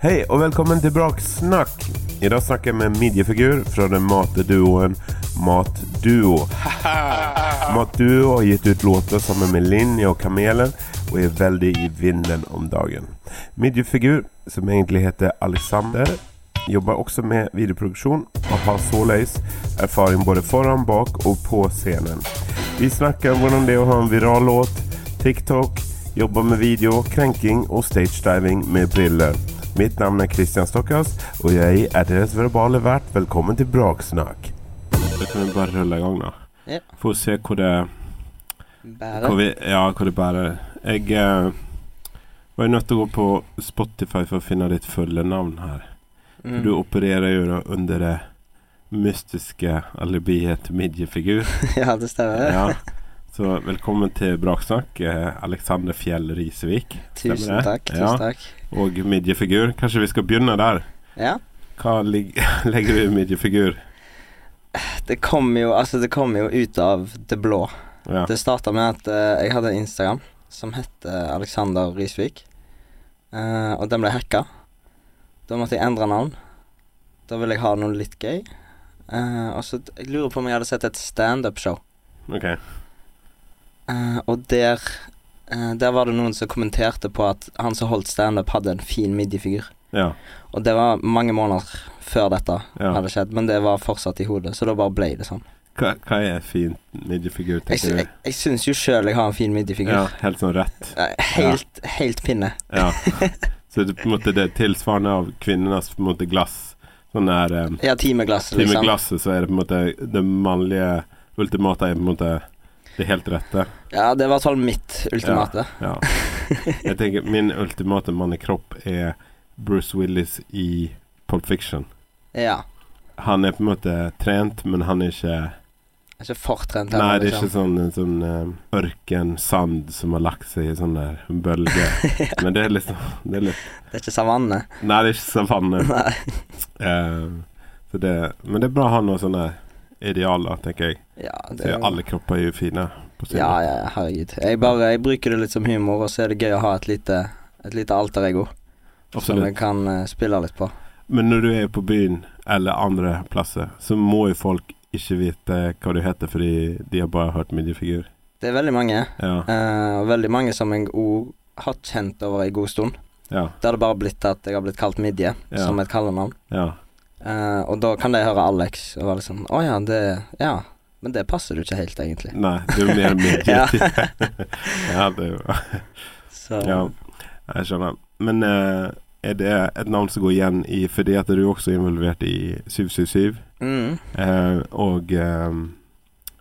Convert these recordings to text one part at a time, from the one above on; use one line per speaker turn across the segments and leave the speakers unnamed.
Hei og velkommen til Braksnakk. I dag snakker jeg med en midjefigur fra den matduoen Matduo. Matduo har gitt ut låter sammen med Linje og Kamelen og er veldig i vinden om dagen. Midjefigur, som egentlig heter Alexander, jobber også med videoproduksjon og har såleis erfaring både foran, bak og på scenen. Vi snakker om hvordan det er å ha en viral låt, TikTok, jobber med video, krenking og stagediving med briller. Mitt navn er Christian Stokkas, og jeg er deres verbale vert. Velkommen til Braksnakk. Da kan vi bare rulle i gang, da.
Ja.
For å se hvor det, hvor
Bære.
vi, ja, hvor det bærer. Jeg eh, var jo nødt til å gå på Spotify for å finne ditt fulle navn her. For Du opererer jo da under det mystiske alibiet midjefigur.
Ja, det stemmer.
Ja. Så velkommen til Braksnakk, eh, Alexander Fjell Risevik.
Tusen
stemmer det?
takk.
Ja.
Tusen takk.
Og midjefigur. Kanskje vi skal begynne der?
Ja.
Hva lig legger du i midjefigur?
Det kom jo Altså, det kom jo ut av det blå.
Ja.
Det starta med at eh, jeg hadde en Instagram som het eh, Alexander Risvik, Eh, og den ble hacka. Da måtte jeg endre navn. Da ville jeg ha noe litt gøy. Eh, og så t- Jeg lurer på om jeg hadde sett et standup-show,
Ok.
Eh, og der eh, Der var det noen som kommenterte på at han som holdt standup, hadde en fin midjefigur.
Ja.
Og det var mange måneder før dette
ja.
hadde skjedd, men det var fortsatt i hodet, så da bare ble det sånn.
Hva, hva er fint midjefigur,
Jeg, sy-
tenker
jeg,
du?
jeg syns jo sjøl jeg har en fin
Ja,
midjefigur.
helt sånn rett.
Eh, Helt, helt pinne.
Ja. Så det, på en måte, det er tilsvarende av kvinnenes på en måte, glass. Sånn der eh,
Ja, ti med glass,
Til og med
liksom.
glasset så er det på en måte det mannlige ultimate er på en måte det helt rette.
Ja, det var i hvert fall mitt ultimate.
Ja. Jeg tenker min ultimate mann i kropp er Bruce Willis i Pulp Fiction.
Ja.
Han er på en måte trent, men han er ikke
Ikke fortrent
Nei,
heller,
det er ikke
liksom.
sånn, en sånn eh, ørkensand som har lagt seg i sånn der bølge. Men det er liksom det er litt,
Det er ikke savanne.
Nei, det er ikke savanne.
Nei.
Eh, så det, men det er bra å ha noen sånne idealer, tenker jeg.
Ja, det
Så alle kropper er jo fine. På sin
Ja, ja, ja, herregud. Jeg bare jeg bruker det litt som humor, og så er det gøy å ha et lite, et lite alter ego som
Absolutt.
jeg kan eh, spille litt på.
Men når du er på byen eller andre plasser, så må jo folk ikke vite hva du heter, fordi de har bare hørt midjefigur.
Det er veldig mange,
Ja,
eh, og veldig mange som jeg òg har kjent over ei god stund.
ja,
Det hadde bare blitt at jeg har blitt kalt Midje,
Ja.
som et kallenavn.
ja.
Eh, og da kan de høre Alex og være litt sånn Å ja, det Ja. Men det passer du ikke helt, egentlig.
Nei, du er mer midje.
Ja.
ja, det er jo
Så
Ja, jeg skjønner. Men eh, er det et navn som går igjen i Fordi at du er også involvert i 777,
mm,
eh, og eh,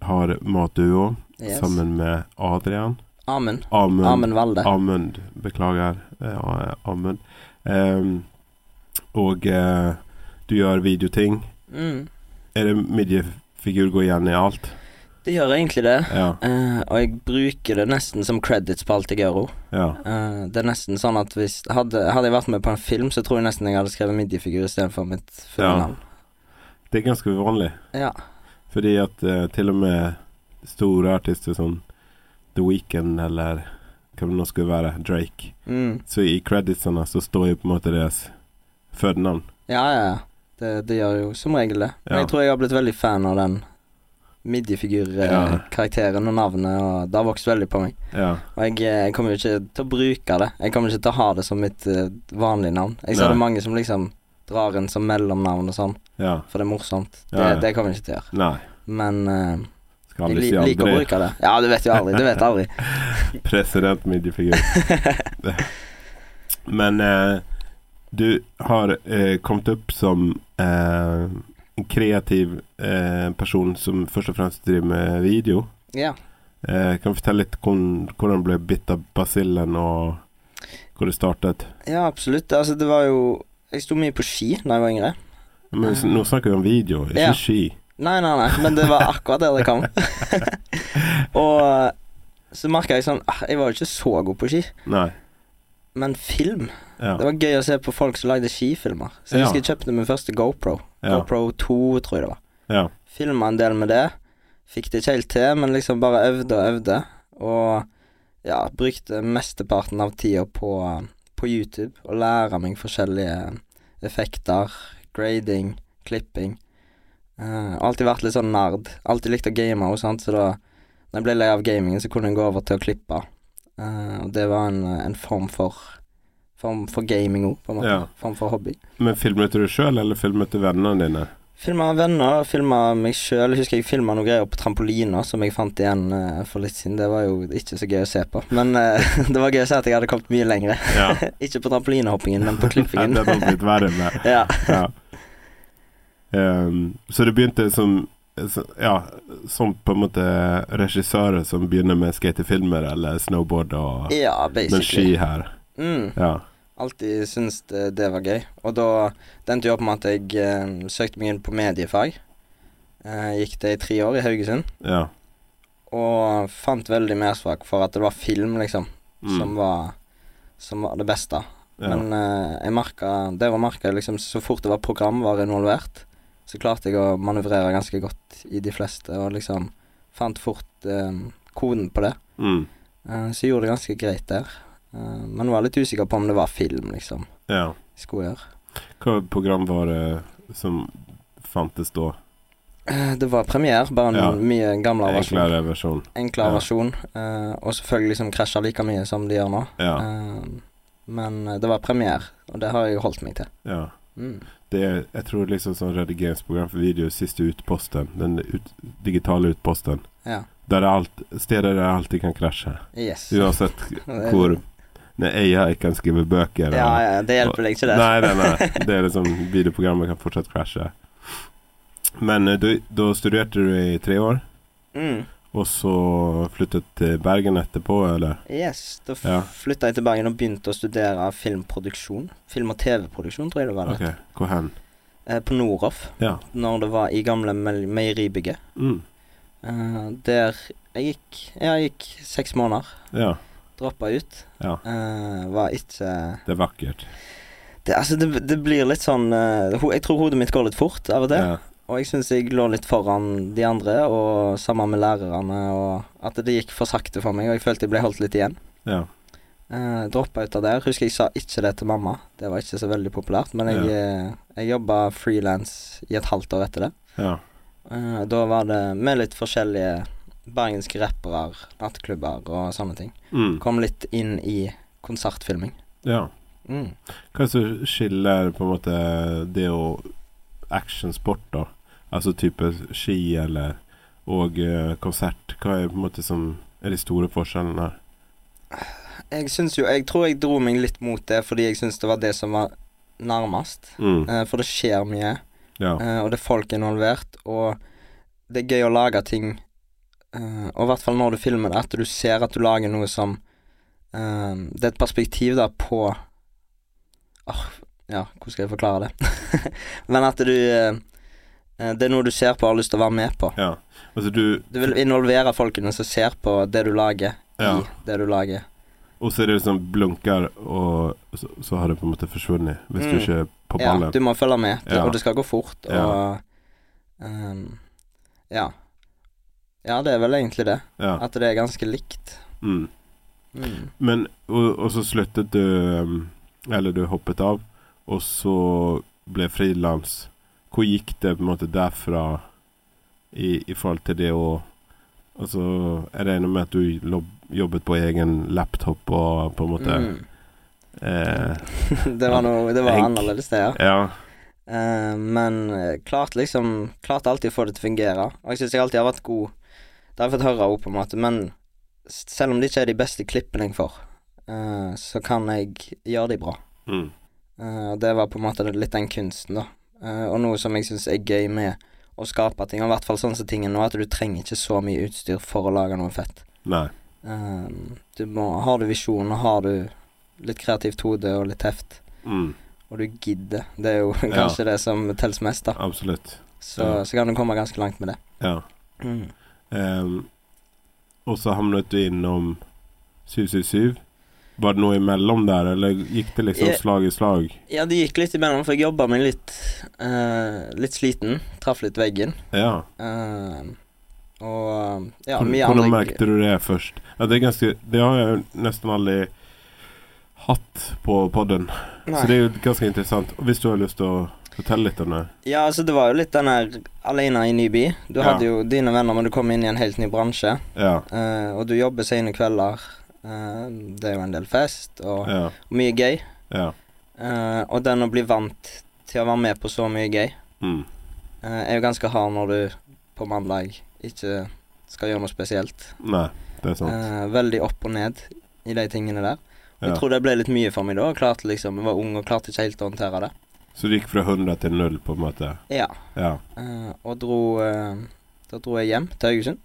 har matduo
yes.
sammen med Adrian.
Amund.
Amund.
Amund Valde.
Amund. Beklager, eh, Amund. Ehm, og eh, du gjør videoting.
Mm.
Er det midjefigur går igjen i alt?
Det gjør egentlig det.
Ja.
Eh, og jeg bruker det nesten som credits på alt jeg gjør òg.
ja.
Eh, det er nesten sånn at hvis hadde, hadde jeg vært med på en film, så tror jeg nesten jeg hadde skrevet midjefigur istedenfor mitt fulle
Ja.
navn.
Det er ganske uvanlig.
Ja.
Fordi at eh, til og med store artister som The Weeknd eller hva det nå skulle være, Drake,
Mm.
så i creditsene så står jo på en måte deres fødenavn.
Ja, ja, ja. Det, det gjør jo som regel det. Men
Ja.
jeg tror jeg har blitt veldig fan av den
Ja.
midjefigur-karakteren og navnet, og det har vokst veldig på meg.
Ja.
Og jeg, eh, jeg kommer jo ikke til å bruke det. Jeg kommer ikke til å ha det som mitt eh, vanlige navn. Jeg ser
Nei.
det mange som liksom drar en som mellomnavn og sånn,
ja.
for det er morsomt. Det,
Ja, ja.
det kommer jeg ikke til å gjøre.
Nei.
Men eh,
Skal
jeg
aldri
li
si aldri.
liker å bruke det. Ja, du vet jo aldri. Du vet aldri.
President midjefigur. Men eh, du har eh, kommet opp som eh, en kreativ eh, person som først og fremst driver med video.
Ja.
Eh, kan du fortelle litt hvordan, hvordan ble bitt av basillen, og hvor det startet?
ja, absolutt. Altså, det var jo Jeg sto mye på ski da jeg var yngre.
Men s- nå snakker vi om video, ikke
Ja.
ski.
Nei, nei, nei, men det var akkurat der det kom. og eh, så merka jeg sånn ah, Jeg var jo ikke så god på ski,
Nei.
men film
Ja.
Det var gøy å se på folk som lagde skifilmer. Så jeg
Ja.
husker jeg kjøpte min første GoPro.
Ja.
GoPro 2, tror jeg det var.
ja.
Filma en del med det. Fikk det ikke helt til, men liksom bare øvde og øvde. Og ja, brukte mesteparten av tida på, på YouTube og lære meg forskjellige effekter, grading, klipping. Eh, og alltid vært litt sånn nerd. Alltid likt å game og sånt, så da når jeg ble lei av gamingen, så kunne jeg gå over til å klippe. Eh, og det var en, en form for Form for gaming òg, på en måte.
Ja.
Form for hobby.
Men filmet du sjøl, eller filmet du vennene dine?
Filma venner, filma meg sjøl. Husker jeg filma noen greier på trampoliner som jeg fant igjen eh, for litt siden. Det var jo ikke så gøy å se på, men eh, det var gøy å se at jeg hadde kommet mye lenger.
Ja.
Ikke på trampolinehoppingen, men på
Ja,
klippingen.
det har blitt verre med.
ja.
Ja. Ehm, så du begynte som så- Ja, som på en måte regissører som begynner med skatefilmer eller snowboard og
ja,
noen
basically.
ski her.
Mm.
Ja.
Alltid syntes det, det var gøy. Og da det endte jo opp med at jeg eh, søkte meg inn på mediefag. Eh, gikk det i tre år i Haugesund,
ja.
og fant veldig mersmak for at det var film, liksom, som,
Mm.
var, som var det beste.
ja.
Men eh, jeg merka Der og merka jeg liksom så fort det var program var involvert, så klarte jeg å manøvrere ganske godt i de fleste, og liksom fant fort eh, koden på det.
Mm.
Eh, så jeg gjorde det ganske greit der. Eh, men var litt usikker på om det var film, liksom,
ja.
jeg skulle gjøre.
Hva program var det som fantes da?
Eh, det var premiere, bare en
Ja.
mye gamlere versjon.
Enklere versjon.
Enklere
Ja.
versjon, eh, og selvfølgelig som krasja like mye som de gjør nå.
Ja.
Eh, men eh, det var premiere, og det har jeg holdt meg til.
ja.
Mm.
Det er, jeg tror liksom sånn redigeringsprogram for video siste utposten. Den ut, digitale utposten.
Ja.
Der det alt, steder der det alltid kan krasje.
Yes.
Uansett hvor Når AI kan skrive bøker. og-
Ja, ja, det hjelper deg ikke, det.
Nei, nei, nei. Det er liksom Videoprogrammet kan fortsatt krasje. Men eh, du, da studerte du i tre år,
Mm.
og så flyttet til Bergen etterpå, eller?
Yes, da f
Ja.
flytta jeg til Bergen og begynte å studere filmproduksjon. Film- og TV-produksjon, tror jeg det var. det.
Ok, hvor hen?
Eh, på Noroff,
Ja.
når det var i gamle mel- meieribygget.
Mm.
Eh, der jeg gikk Ja, jeg gikk seks måneder.
Ja.
Droppa ut.
Ja.
Eh, var ikke
Det er vakkert.
det, Altså, det, det blir litt sånn eh, ho Jeg tror hodet mitt går litt fort av og til.
Ja.
Og jeg syns jeg lå litt foran de andre, og sammen med lærerne, og at det gikk for sakte for meg, og jeg følte jeg ble holdt litt igjen.
ja.
Uh, Droppa ut av der. Husker jeg sa ikke det til mamma. Det var ikke så veldig populært. Men jeg, eh, jeg jobba frilans i et halvt år etter det.
ja.
Eh, da var det med litt forskjellige bergenske rappere, nattklubber og sånne ting.
Mm.
Kom litt inn i konsertfilming.
ja.
Mm.
Hva er det som skiller på en måte det og actionsport, da? Altså type ski eller og eh, konsert. Hva er på en måte som er de store forskjellene?
Jeg syns jo Jeg tror jeg dro meg litt mot det fordi jeg syns det var det som var nærmest.
Mm.
Eh, for det skjer mye.
Ja.
Eh, og det er folk involvert, og det er gøy å lage ting eh, Og i hvert fall når du filmer det, at du ser at du lager noe som eh, Det er et perspektiv da på Åh, Ja, hvordan skal jeg forklare det? Men at du eh, eh, Det er noe du ser på og har lyst til å være med på.
ja. Altså du
Du vil involvere folkene som ser på det du lager,
Ja.
i det du lager.
Og så er det liksom blunker, og så, så har det på en måte forsvunnet. Hvis du
Mm.
ikke er på
Ja,
ballen.
du må følge med, det-
Ja.
og det skal gå fort, og ehm, ja. ja, det er vel egentlig det.
Ja.
At det er ganske likt.
Mm.
Mm.
Men og, og så sluttet du um, Eller du hoppet av, og så ble frilans. Hvor gikk det på en måte derfra i, i forhold til det å Altså, jeg regner med at du lob, jobbet på egen laptop og på en måte
Mm.
eh,
det var noe Det var
Egg.
annerledes, det, ja.
Ja.
Eh, men eh, klart liksom Klart alltid å få det til å fungere. Og jeg syns jeg alltid har vært god Det har jeg fått høre òg, på en måte, men s- selv om det ikke er de beste klippene jeg får, eh, så kan jeg gjøre de bra.
Mm.
Eh, Og det var på en måte litt den kunsten, da. Eh, og noe som jeg syns er gøy med å skape ting, og i hvert fall sånn som ting er nå, at du trenger ikke så mye utstyr for å lage noe fett.
Nei.
Eh, du må, har du visjon, og har du litt kreativt hode og litt teft,
Mm.
og du gidder, det er jo kanskje det som telles mest, da,
Absolutt.
så,
Ja.
så kan du komme ganske langt med det.
Ja. Ehm, og så hamnet du innom 777. Var det noe imellom der, eller gikk det liksom
Jeg-
slag i slag?
Ja, det gikk litt imellom, for jeg jobba meg litt eh, Litt sliten. Traff litt veggen.
Ja.
eh, og ja,
Hvordan
mye
hvordan
andre
merkte du det først? Ja, det, er ganske, det har jeg nesten aldri hatt på podden. Så det er jo ganske interessant. Og hvis du har lyst til å fortelle litt om det
Ja, altså det var jo litt den her alene i ny by. Du
Ja.
hadde jo dine venner, men du kom inn i en helt ny bransje.
Ja.
Eh, og du jobber sene kvelder. Eh, det er jo en del fest og
Ja.
mye gøy.
ja.
Eh, og den å bli vant til å være med på så mye gøy,
Mm.
eh, er jo ganske hard når du på mandag ikke skal gjøre noe spesielt.
Nei, det er sant.
Eh, veldig opp og ned i de tingene der. Og
Ja.
Jeg tror det ble litt mye for meg da. Jeg klarte liksom, jeg var ung og klarte ikke helt å håndtere det.
Så du gikk fra 100 til 0, på en måte?
Ja.
Ja.
Eh, og dro eh, Da dro jeg hjem til Haugesund.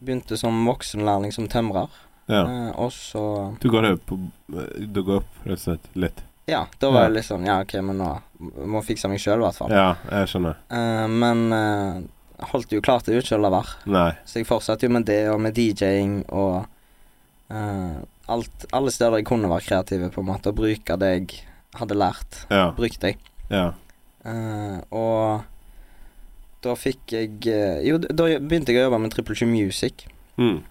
Begynte som voksenlærling som tømrer.
ja.
Eh, og så
Du går opp, du går opp rett og slett litt?
Ja, da var
Ja.
jeg litt sånn Ja, OK, men nå må jeg fikse meg sjøl, i hvert fall.
Ja, jeg skjønner.
Eh, men eh, holdt jo klart det ut sjøl det var.
Nei.
Så jeg fortsatte jo med det, og med DJ-ing og eh, alt Alle steder jeg kunne være kreativ, på en måte, og bruke det jeg hadde lært.
Ja.
Brukte jeg.
Ja.
Eh, og da fikk jeg eh, Jo, d- da begynte jeg å jobbe med Triple 20 Music.
Mm.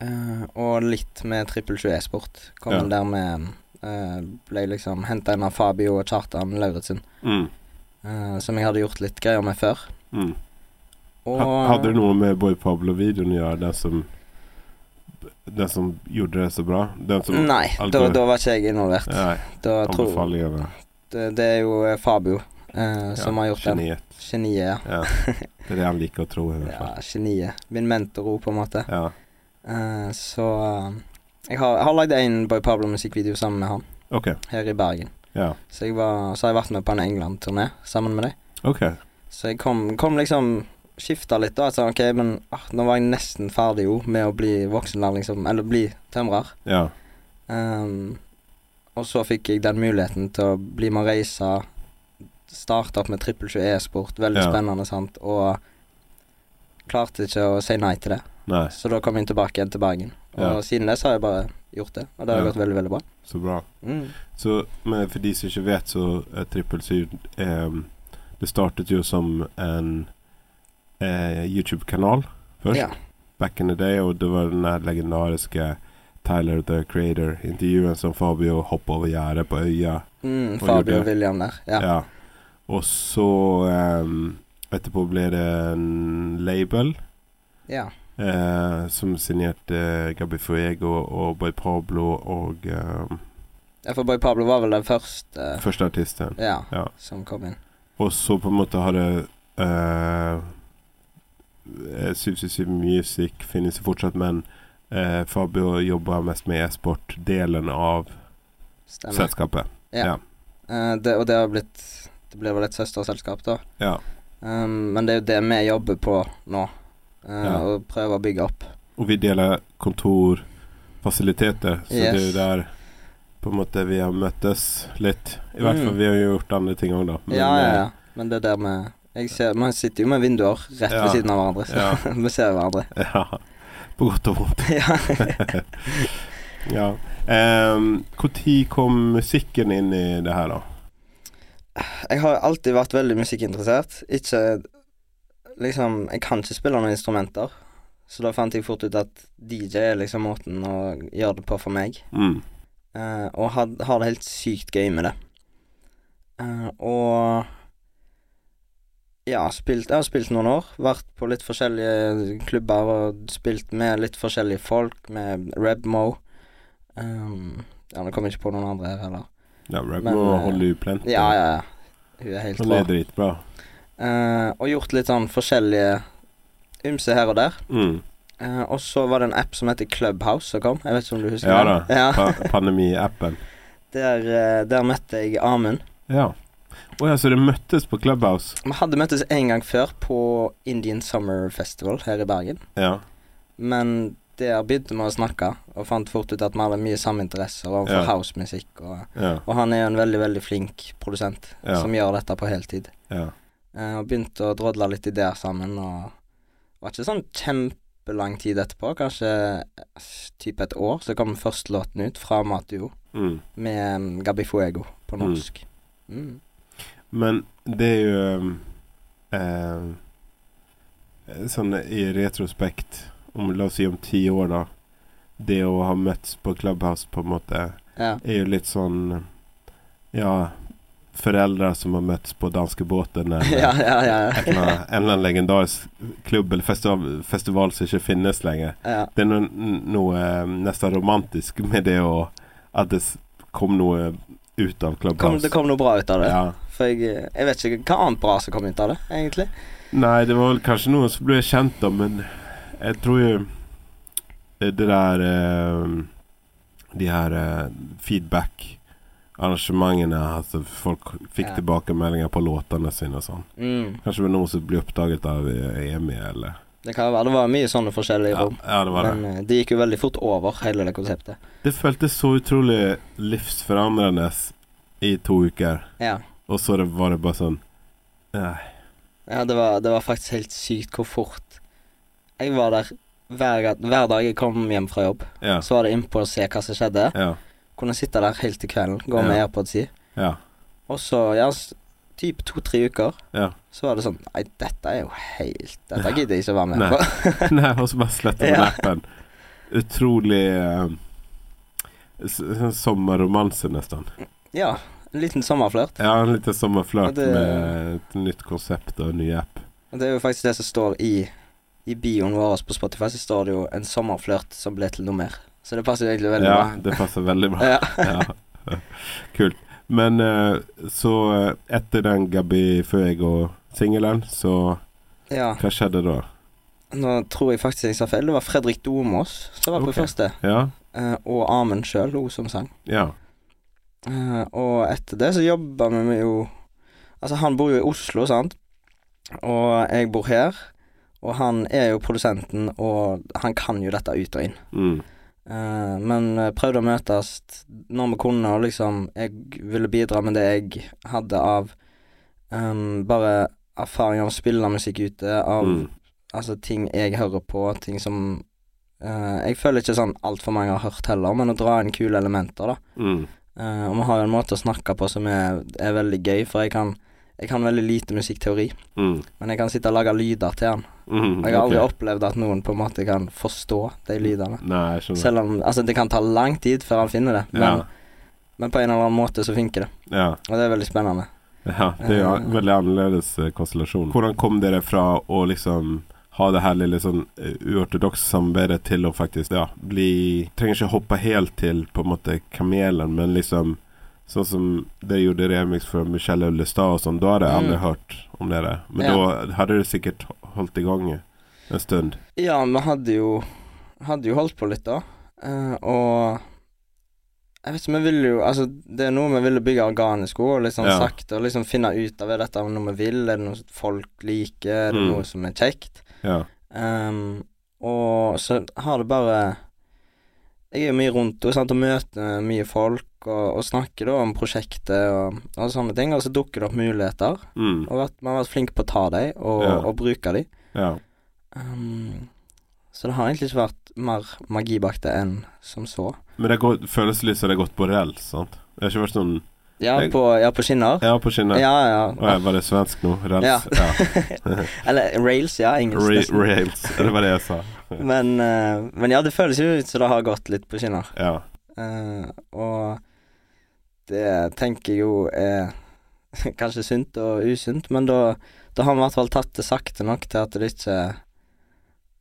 Eh, og litt med Trippel 20 e-sport. Kom
Ja.
inn der med eh, Ble liksom henta inn av Fabio og Kjartan Lauritzen,
Mm.
eh, som jeg hadde gjort litt greier med før.
Mm.
Og
Ha- Hadde det noe med Boy Pablo-videoen å gjøre, den som Den som gjorde det så bra? Den som
Nei, da,
algoritme.
da var ikke jeg involvert.
Nei,
Da tror,
anbefalingene.
det, det er jo eh, Fabio eh, som har gjort den.
Geniet.
Geniet, ja.
Ja. Det er det han liker å tro, i hvert
ja.
fall.
Geniet. Min mentor òg, på en måte.
Ja.
Eh, så eh, jeg har, jeg har lagd en Boy Pablo-musikkvideo sammen med han
OK.
her i Bergen.
Ja.
Så, jeg var, så har jeg vært med på en England-turné sammen med dem.
OK.
Så jeg kom, kom liksom Skifta litt, da. Jeg sa ok, men ah, nå var jeg nesten ferdig jo med å bli voksenlærling, som Eller bli tømrer.
Ja.
Ehm, og så fikk jeg den muligheten til å bli med og reise. Starte opp med trippel 20 e-sport. Veldig
Ja.
spennende, sant. Og klarte ikke å si nei til det.
Nei,
Så da kom jeg tilbake igjen til Bergen. Og
Ja.
siden det så har jeg bare gjort det. Og det har
Ja.
gått veldig, veldig bra.
så bra.
Mm.
Så, men for de som ikke vet, så er Trippel Syd eh, Det startet jo som en eh, YouTube-kanal først,
Ja.
back in the day, og det var den der legendariske Tyler the Creator-intervjuet som Fabio hoppa over gjerdet på øya.
Mm,
Og
Fabio
gjorde-
og William der. Ja.
Ja. Og så ehm, Etterpå ble det en label
ja.
eh, som signerte Gabi Fuego og Boy Pablo og ehm,
ja. For Boy Pablo var vel den første
første artisten.
ja,
Ja.
som kom inn.
Og så på en måte har det eh, 777 Music finnes jo fortsatt, men eh, Fabio jobber mest med e-sport-delen av
Stemmer.
selskapet.
Eh, det, og det har blitt Det blir vel et søsterselskap, da.
Ja.
Um, men det er jo det vi jobber på nå. eh,
Ja.
Og prøver å bygge opp.
Og vi deler kontorfasiliteter, så det er
Yes.
jo der på en måte vi har møttes litt. I hvert fall,
Mm.
vi har jo gjort andre ting òg, da. men,
ja, ja,
eh,
ja. Men det er der vi jeg ser, Man sitter jo med vinduer rett
Ja.
ved siden av hverandre. Så
Ja.
vi ser hverandre.
Ja, på godt og vondt.
ja.
ja. Ehm, Hvor tid kom musikken inn i det her, da?
Jeg har alltid vært veldig musikkinteressert. Ikke Liksom, jeg kan ikke spille noen instrumenter. Så da fant jeg fort ut at DJ er liksom måten å gjøre det på for meg.
Mm.
Eh, og had, har det helt sykt gøy med det. Eh, og ja, spilt, jeg har spilt noen år. Vært på litt forskjellige klubber og spilt med litt forskjellige folk, med Rebmo. Um, ja, nå kommer jeg ikke på noen andre her heller.
Ja, Ragnar
Men, eh,
holder jo plenty.
Ja, ja, ja. Hun er helt
Han er
rå.
dritbra.
Eh, og gjort litt sånn forskjellige ymse her og der.
Mm.
Eh, og så var det en app som heter Clubhouse som kom. Jeg vet ikke om du husker
Ja
den?
da.
Ja,
Pa Pandemi-appen.
der, eh, der møtte jeg Amund.
Ja. Å ja, så det møttes på Clubhouse?
Vi hadde møttes en gang før på Indian Summer Festival her i Bergen.
Ja.
Men der begynte vi å snakke, og fant fort ut at vi hadde mye samme interesser overfor
Ja.
housemusikk. Og,
Ja.
og han er jo en veldig, veldig flink produsent
Ja.
som gjør dette på heltid.
ja.
Eh, og begynte å drodle litt ideer sammen, og det var ikke sånn kjempelang tid etterpå, kanskje eh, typ et år, så kom først låten ut fra Matuo
Mm.
med mm, Gabi Fuego på
Mm.
norsk. Mm.
Men det er jo ehm, ehm, Sånn i retrospekt, om la oss si om ti år, da. Det å ha møttes på Clubhouse, på en måte
Ja.
är ju lite sån, sånn, ja, föräldrar som har mötts på danskebåten eller
ja, ja, ja.
et eller annet- en eller annen legendarisk klubb eller festival, festival som ikke finnes lenger.
ja.
Det er noe, noe eh, nesten romantisk med det å At det s- kom noe ut av
Kom,
Clubhouse.
det kom noe bra ut av det.
Ja.
For jeg, eh, jeg vet ikke hva annet bra som kom ut av det, egentlig.
Nei, det var vel kanskje noen som ble kjent, da, men jeg tror jo det der eh, De her eh, feedback-arrangementene, altså folk fikk
Ja.
tilbakemeldinger på låtene sine og sånn.
Mm.
Kanskje det var noen som ble oppdaget av eh, EMI, eller
Det kan være det var mye sånne forskjellige
ja,
rom.
ja, det var det.
Men eh, det gikk jo veldig fort over, hele det konseptet.
Det føltes så utrolig livsforandrende i to uker,
Ja.
og så det- var det bare sånn Nei.
Ja, det var, det var faktisk helt sykt hvor fort Jeg var der hver, ga- hver dag jeg kom hjem fra jobb.
Ja.
Så var det innpå å se hva som skjedde.
Ja.
Kunne sitte der helt til kvelden, gå
Ja.
med airpods i.
Ja.
Og så, ja, s- typ to-tre uker,
Ja.
så var det sånn Nei, dette er jo helt Dette gidder jeg ikke å være med
Nei.
på.
Nei, og så bare sletter man
Ja.
appen. Utrolig eh, s- sånn sommerromanse, nesten.
Ja. En liten sommerflørt.
Ja, en liten
Ja,
sommerflørt
det-
med et nytt konsept og en ny app.
Og det er jo faktisk det som står i I bioen vår på Spotify, så står det jo 'en sommerflørt som ble til noe mer'. Så det passer jo egentlig veldig
Ja, det passer veldig
bra.
bra.
Ja.
Ja. Kult. Men eh, så eh, etter den Gabi før jeg og singelen, så
ja.
hva skjedde da?
Nå tror jeg faktisk jeg sa feil. Det var Fredrik Domås som var på
Ok.
første.
Ja?
eh, og Amund sjøl, hun som sang.
Ja.
Eh, og etter det så jobba vi med jo Altså, han bor jo i Oslo, sant, og jeg bor her. Og han er jo produsenten, og han kan jo dette ut og inn.
Mm.
Eh, men eh, prøvde å møtes når vi kunne, og liksom Jeg ville bidra med det jeg hadde av ehm, bare erfaring av å spille musikk ute, av
Mm.
altså ting jeg hører på, ting som eh, Jeg føler ikke sånn altfor mange har hørt heller, men å dra inn kule elementer, da.
Mm.
Eh, og vi har jo en måte å snakke på som er, er veldig gøy, for jeg kan, jeg kan veldig lite musikkteori,
Mm.
men jeg kan sitte og lage lyder til den.
Mm.
Og jeg har aldri
Ok.
opplevd at noen på en måte kan forstå de lydene.
Nei, jeg skjønner.
Selv om Altså, det kan ta lang tid før han finner det, men,
Ja.
men på en eller annen måte så funker det.
ja.
Og det er veldig spennende.
Ja, det er jo en veldig annerledes eh, konstellasjon. Hvordan kom dere fra å liksom ha det her lille sånn eh, uortodokse samarbeidet til å faktisk ja, bli Trenger ikke hoppe helt til på en måte kamelen, men liksom Sånn som dere gjorde remix for Michelle Ullestad og sånn, da har jeg aldri
Mm.
hørt om dere. Men
Ja.
da hadde dere sikkert holdt i gang en stund.
Ja, vi hadde jo Hadde jo holdt på litt, da. Eh, og Jeg vet ikke, vi ville jo Altså, det er noe vi ville bygge organisk òg, litt sånn
Ja.
sakte, og liksom finne ut av er dette noe vi vil, er det noe som folk liker, er det
Mm.
noe som er kjekt?
Ja.
Ehm, og så har det bare Jeg er jo mye rundt og, sant, og møter mye folk og, og snakker da om prosjektet og, og sånne ting, og så dukker det opp muligheter.
Mm.
Og at man har vært flink på å ta dem og,
Ja.
og bruke dem.
ja.
Ehm, så det har egentlig ikke vært mer magi bak det enn som så.
Men det går, føles litt som det har gått på rell, sant? Det har ikke vært sånn
Ja,
Jeg-
på, ja, på skinner.
Ja, på
Ja,
skinnet.
ja.
Å, jeg- Var det svensk nå?
Ja.
Rels? Ja.
Eller rails, ja. Engelsk.
Re
nesten.
Rails, det var det jeg sa.
Men, eh, men ja, det føles jo ut som det har gått litt på skinner.
Ja.
Eh, og det tenker jeg jo er kanskje sunt og usunt, men da, da har vi i hvert fall tatt det sakte nok til at det ikke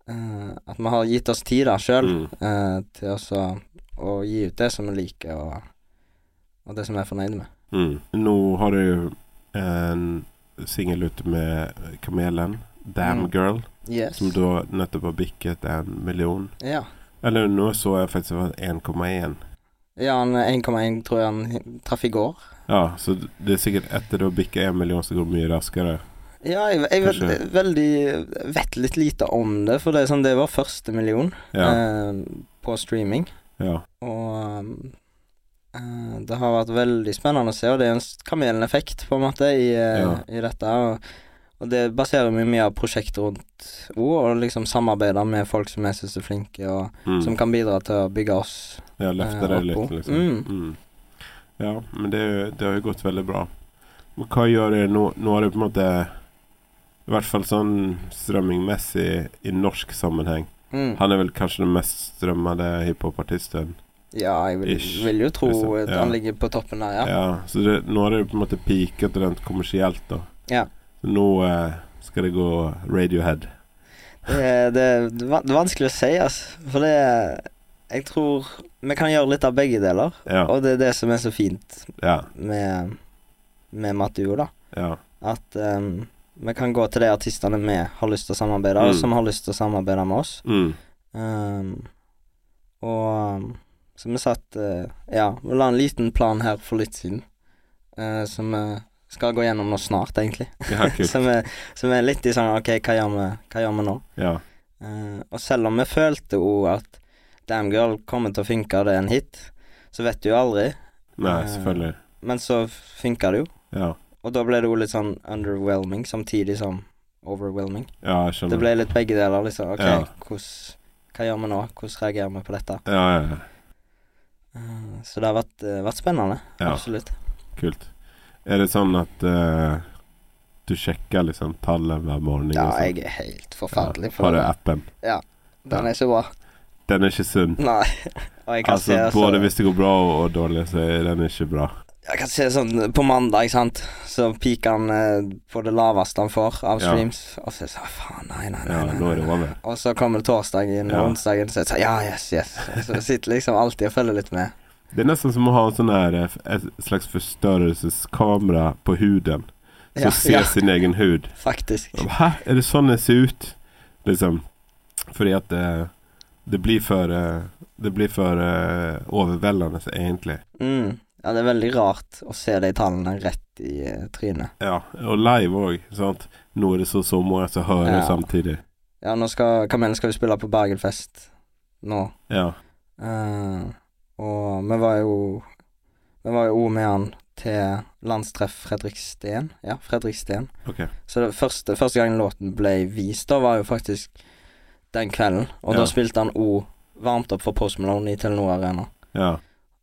eh, At vi har gitt oss tid da sjøl
Mm.
til også å gi ut det som vi liker, og, og det som vi er fornøyde med.
Mm. Nå har du en singel ute med Kamelen, 'Damn
Mm.
Girl',
Yes.
som da nettopp har bikket en million.
Ja.
Eller nå så jeg faktisk det var 1,1.
ja, han 1,1 tror jeg han traff i går.
Ja, så det er sikkert etter du har bikket en million, så går det mye raskere.
Ja, jeg, jeg vet,
Kanskje.
veldig, vet litt lite om det, for det er sånn, det er vår første million
Ja.
eh, på streaming.
ja.
Og um, eh, det har vært veldig spennende å se, og det er en s- kameleffekt, på en måte, i, eh,
Ja.
i dette. Og, og det baserer mye mye av prosjektet rundt ord, og liksom samarbeider med folk som jeg syns er flinke, og som
Mm.
kan bidra til å bygge oss.
Jeg løfter
eh,
det litt,
oppå.
liksom.
Mm.
Mm. Ja, men det, er jo- det har jo gått veldig bra. Men hva gjør dere nå? Nå har det på en måte I hvert fall sånn strømmingmessig i norsk sammenheng.
Mm.
Han er vel kanskje den mest strømmede hiphopartisten
Ja, jeg vil,
Ish,
vil jo tro
liksom.
at
Ja.
han ligger på toppen der, ja.
Ja, så det, nå har det jo på en måte piket rent kommersielt, da.
Ja.
Så nå eh, skal det gå Radiohead.
Det, det, det er vanskelig å si, altså. For det Jeg tror vi kan gjøre litt av begge deler.
Ja,
Og det er det som er så fint
ja,
med, med Matduo, da.
ja.
At ehm, vi kan gå til de artistene vi har lyst til å samarbeide, og
Mm.
som har lyst til å samarbeide med oss.
Mm.
Ehm, og um, så vi satt eh, Ja, vi la en liten plan her for litt siden, eh, som vi skal gå gjennom nå snart, egentlig.
Ja, kult.
Som er, som er litt i sånn OK, hva gjør vi, hva gjør vi nå?
Ja.
Eh, og selv om vi følte jo at Damn Girl kommer til å funke, det er en hit, så vet du jo aldri.
Nei, selvfølgelig.
Men så funka det jo.
Ja.
Og da ble det jo litt sånn underwhelming samtidig som overwhelming.
ja, jeg
Det
skjønner.
ble litt begge deler, liksom. OK,
Mm. Ja.
hvordan Hva gjør vi nå? Hvordan reagerer vi på dette?
Ja, ja, ja.
Eh, så det har vært, eh, vært spennende.
Ja.
Absolutt.
Kult. Er det sånn at eh, du sjekker liksom tallet hver morgen?
Ja,
og sånn?
jeg er helt forferdelig
Har
for
du
det.
appen?
Den er så bra.
Den er ikke sunn.
Nei. Og jeg kan
Altså,
se
både
så-
hvis det går bra og, og dårlig, så er den ikke bra.
Jeg kan se sånn på mandag, sant, så peaker han eh, på det laveste han får av
Ja.
streams. Og så er det sånn Faen, nei, nei, nei.
Ja,
nei,
nå er
nei.
det over.
Og så kommer det torsdagen og
Ja.
onsdagen, så er det sånn Ja, yes, yes. Så sitter liksom alltid og følger litt med.
Det er nesten som å ha en sånn her, eh, et slags forstørrelseskamera på huden, som
Ja,
ser
ja,
sin egen hud.
faktisk.
Hæ, er det sånn det ser ut? Liksom. Fordi at det, det blir for eh, Det blir for eh, overveldende, egentlig.
Mm. Ja, det er veldig rart å se de tallene rett i eh, trynet.
Ja, og live òg, sant. Nå er det så så mange som hører
Ja.
samtidig.
Ja, nå skal Kamelen skal jo spille på Bergenfest nå.
Ja.
Eh, og vi var jo Vi var jo også med han til landstreff Fredriksten. Ja, Fredriksten.
Ok.
Så det første, første gang låten ble vist, da var jo faktisk den kvelden. Og
Ja.
da spilte han O varmt opp for Post Malone i Telenor Arena.
Ja.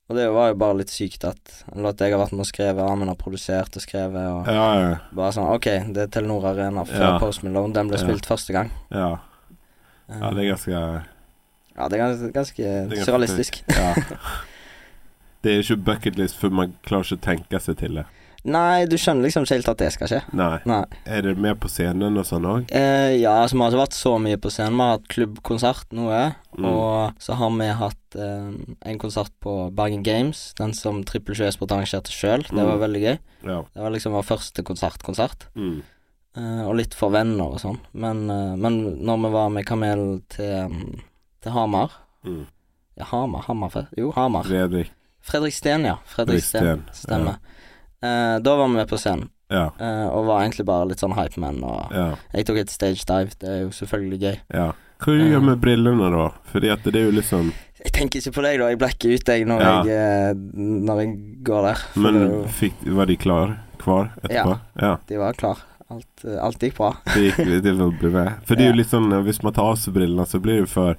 Og det var jo bare litt sykt at en låt jeg har vært med og skrevet, Amund har produsert og skrevet, og
Ja, ja.
bare sånn OK, det er Telenor Arena for
Ja.
Post Malone, den ble
Ja.
spilt første gang.
ja.
Eh,
ja det er ganske
ja, det er gans- ganske,
ganske
surrealistisk.
Ja. Det er ikke bucketlist, for man klarer ikke å tenke seg til det.
Nei, du skjønner liksom ikke helt at det skal skje.
Nei.
Nei.
Er det med på scenen og sånn òg?
Eh, ja, altså vi har ikke vært så mye på scenen. Vi har hatt klubbkonsert noe.
Mm.
Og så har vi hatt eh, en konsert på Bergen Games, den som Trippel 20 Esport arrangerte sjøl. Det var
Mm.
veldig gøy.
Ja.
Det var liksom vår første konsertkonsert.
Mm.
Eh, og litt for venner og sånn. Men, eh, men når vi var med Kamel til, mm, til Hamar
Mm.
Ja, Hamar? Hammerfest? Jo, Hamar.
Fredrik
Fredriksten, ja.
Riksten.
Fredriksten. Stemmer. Eh, da var vi med på scenen,
Ja.
eh, og var egentlig bare litt sånn hypeman. Og
Ja.
jeg tok et stage dive, det er jo selvfølgelig gøy.
ja. Hva du gjør du med brillene, da? Fordi at det er jo liksom
Jeg tenker ikke på deg, da. Jeg blekker ut deg når,
Ja.
jeg, eh, når jeg går der. For
Men
det er jo-
fikk, var de klar Kvar etterpå? Ja.
de var klar. Alt, eh, alt gikk bra.
Det gikk det vil bli med. For det er jo
Ja.
litt sånn eh, Hvis man tar av seg brillene, så blir det jo for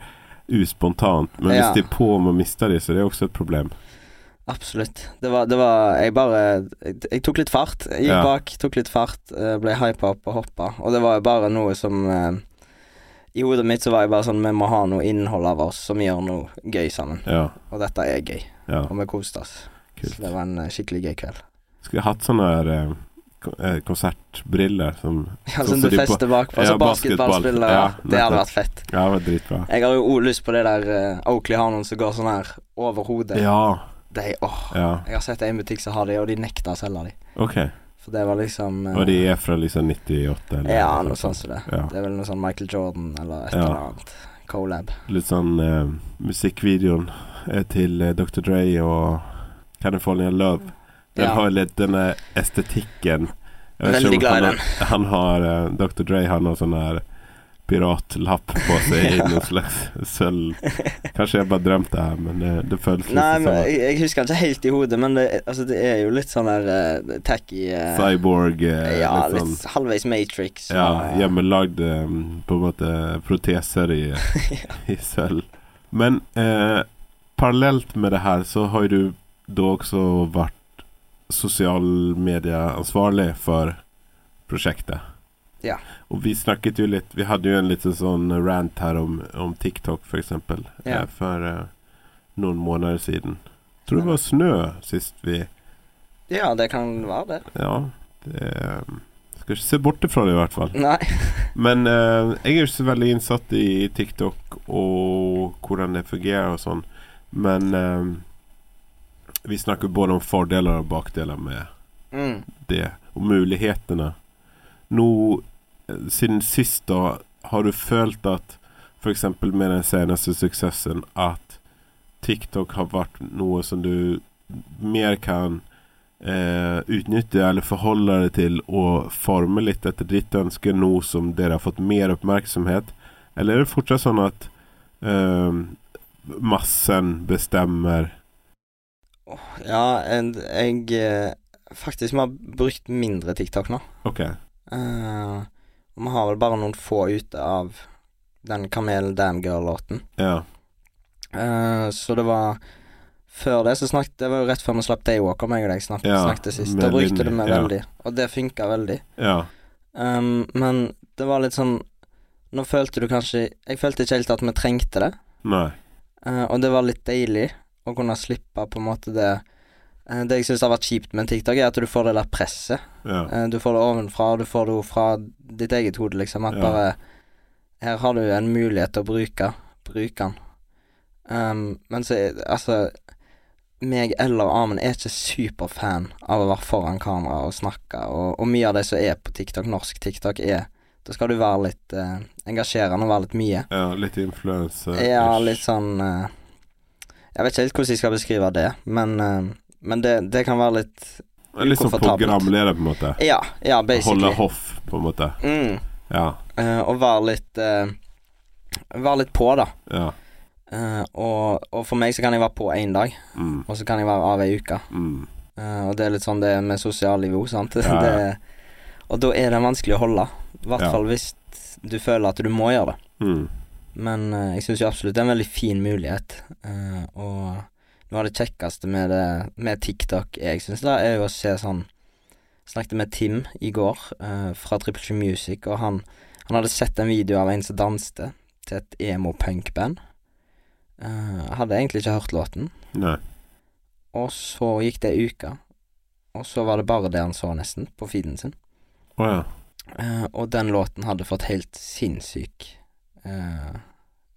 uspontant. Men hvis
Ja.
de er på og man mister de, så er det også et problem.
Absolutt. Det var, det var Jeg bare Jeg, jeg tok litt fart. Jeg gikk
Ja.
bak, tok litt fart, eh, ble hypa opp og hoppa. Og det var jo bare noe som eh, I hodet mitt så var jeg bare sånn Vi må ha noe innhold av oss som gjør noe gøy sammen.
Ja.
Og dette er gøy.
ja.
Og vi koste oss.
Kult.
Så det var en eh, skikkelig gøy kveld.
Skulle jeg hatt sånne her eh, ko- eh, konsertbriller som
Ja,
Sånn
som
som
du
de på-
fester bakpå,
Ja,
altså
basketball.
basketballspillere.
Ja,
det hadde
nettopp.
vært fett.
Ja, det var dritbra.
Jeg har jo også lyst på det der eh, Oakley har noen som går sånn her over hodet.
Ja.
De, åh,
ja.
jeg har sett en butikk som har de, og de nekter å selge de.
Ok.
For det var liksom eh,
Og de er fra liksom 98? Eller
Ja, noe sånt som det.
Ja.
Det er vel noe sånn Michael Jordan eller et
Ja.
eller annet. Colab.
Litt sånn eh, musikkvideoen eh, til eh, Dr. Dre og California Love. Den
Ja.
har litt denne estetikken. Jeg vet ikke
Veldig
om
glad
han,
i
har- Han har, eh, Dr. Dre han har sånn her piratlapp på seg i
Ja.
noe slags sølv. Kanskje jeg bare drømte det her, men det, det føltes litt
Nei, men
sånn
jeg, jeg husker den ikke helt i hodet, men det, altså, det er jo litt sånn der eh, tacky eh,
cyborg eh,
Ja,
litt
litt
sånn
halvveis Matrix.
ja,
og-
hjemmelagd eh, på en måte proteser i, i sølv. Men eh, parallelt med det her så har jo du da også vært sosialmedieansvarlig for prosjektet.
Ja.
Og vi snakket jo litt Vi hadde jo en liten sånn rant her om, om TikTok, for eksempel.
Ja.
Eh, for eh, noen måneder siden. Tror det var snø sist vi
Ja, det kan være det.
Ja, det eh, Skal ikke se bort ifra det, i hvert fall.
Nei.
Men eh, jeg er jo ikke så veldig innsatt i TikTok og hvordan det fungerer og sånn. Men eh, vi snakker både om fordeler og bakdeler med
Mm.
det, og mulighetene. Nå, eh, siden sist da, har du følt at f.eks. med den seneste suksessen at TikTok har vært noe som du mer kan eh, utnytte eller forholde deg til og forme litt etter ditt ønske nå som dere har fått mer oppmerksomhet? Eller er det fortsatt sånn at eh, massen bestemmer
Ja, en- jeg eh, Faktisk, vi har brukt mindre TikTok nå.
OK.
Eh, og vi har vel bare noen få ute av den Kamel Damgirl-låten.
Ja.
Eh, så det var Før det så snakket Det var jo rett før vi slapp Daywalker, meg og deg snakket,
Ja,
snakket sist.
med
Da brukte
Linni,
du meg
ja.
veldig, og det funka veldig.
Ja.
Um, men det var litt sånn Nå følte du kanskje Jeg følte ikke helt at vi trengte det,
Nei.
eh, og det var litt deilig å kunne slippe på en måte det eh, Det jeg syns har vært kjipt med TikTok, er at du får det der presset.
Ja.
Eh, Du får det ovenfra, og du får det jo fra ditt eget hode, liksom. At
Ja.
bare Her har du en mulighet til å bruke Bruk den. Um, men så er- Altså meg eller Amund er ikke superfan av å være foran kamera og snakke, og, og mye av det som er på TikTok, norsk TikTok, er Da skal du være litt eh, engasjerende og være litt mye.
ja litt influensa.
Ja, litt sånn eh, Jeg vet ikke helt hvordan jeg skal beskrive det, men, eh, men det, det kan være litt
Litt sånn
ukomfortabelt.
programleder, på en måte.
Ja, ja,
Holde
basically.
hoff, på en måte.
Mm.
Ja.
Eh, og være litt eh, Være litt på, da.
Ja.
Eh, og, og for meg så kan jeg være på én dag,
Mm,
og så kan jeg være av ei uke.
mm.
Eh, og det er litt sånn det er med sosialliv òg, sant.
Ja, ja.
Det, og da er det vanskelig å holde. I hvert
Ja.
fall hvis du føler at du må gjøre det.
Mm.
Men eh, jeg syns jo absolutt det er en veldig fin mulighet. Eh, og noe av det kjekkeste med, det, med TikTok jeg syns, da, er jo å se sånn Snakket med Tim i går eh, fra Triple J Music, og han, han hadde sett en video av en som danste til et emo-punk-band. Eh, hadde egentlig ikke hørt låten.
Nei.
Og så gikk det ei uke, og så var det bare det han så, nesten, på feeden sin.
Å ja.
Eh, og den låten hadde fått helt sinnssyk eh,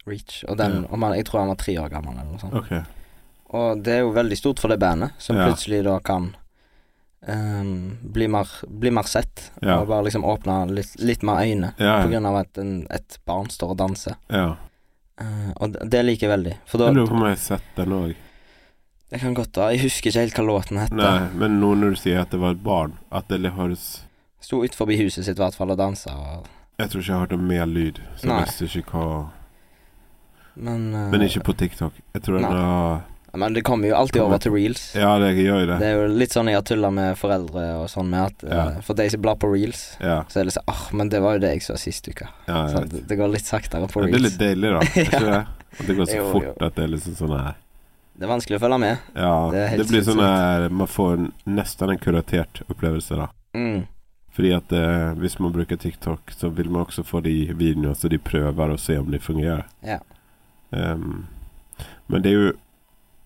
reach. Og den,
Ja.
om han, jeg tror han var tre år gammel, eller noe sånt.
Ok.
Og det er jo veldig stort for det bandet, som
Ja.
plutselig da kan ehm, bli, mer, bli mer sett.
Ja.
Og bare liksom åpne litt, litt mer øyne,
Ja,
på
ja.
grunn av at en, et barn står og danser.
ja.
Eh, og det, det liker jeg veldig. For da
Jeg lurer på om jeg har sett den òg.
Det kan godt være. Jeg husker ikke helt hva låten het.
Nei, men nå når du sier at det var et barn, at det høres
Sto utenfor huset sitt i hvert fall og dansa. Og,
Jeg tror ikke jeg har hørt om mer lyd, så
Nei.
jeg visste ikke hva
men, eh,
Men ikke på TikTok. Jeg tror
Nei.
den har
men det kommer jo alltid over til reels.
Ja, det gjør jo
Det
det.
er jo litt sånn jeg har tulla med foreldre og sånn med at eh,
Ja.
For de som blar på reels,
Ja,
så er det sånn Ah, men det var jo det jeg så sist uke.
ja jeg
Så
vet.
det, det går litt saktere på
Men det er
reels.
litt deilig, da. Er ikke det? At det går så
Jo, jo.
fort at det er liksom sånn her
Det er vanskelig å følge med.
Ja,
Det er helt
det blir sånn
sinnssykt.
her Man får en- nesten en kuratert opplevelse, da.
Mm.
Fordi at eh, hvis man bruker TikTok, så vil man også få de videoene så de prøver å se om de fungerer.
Ja.
Ehm, men det er jo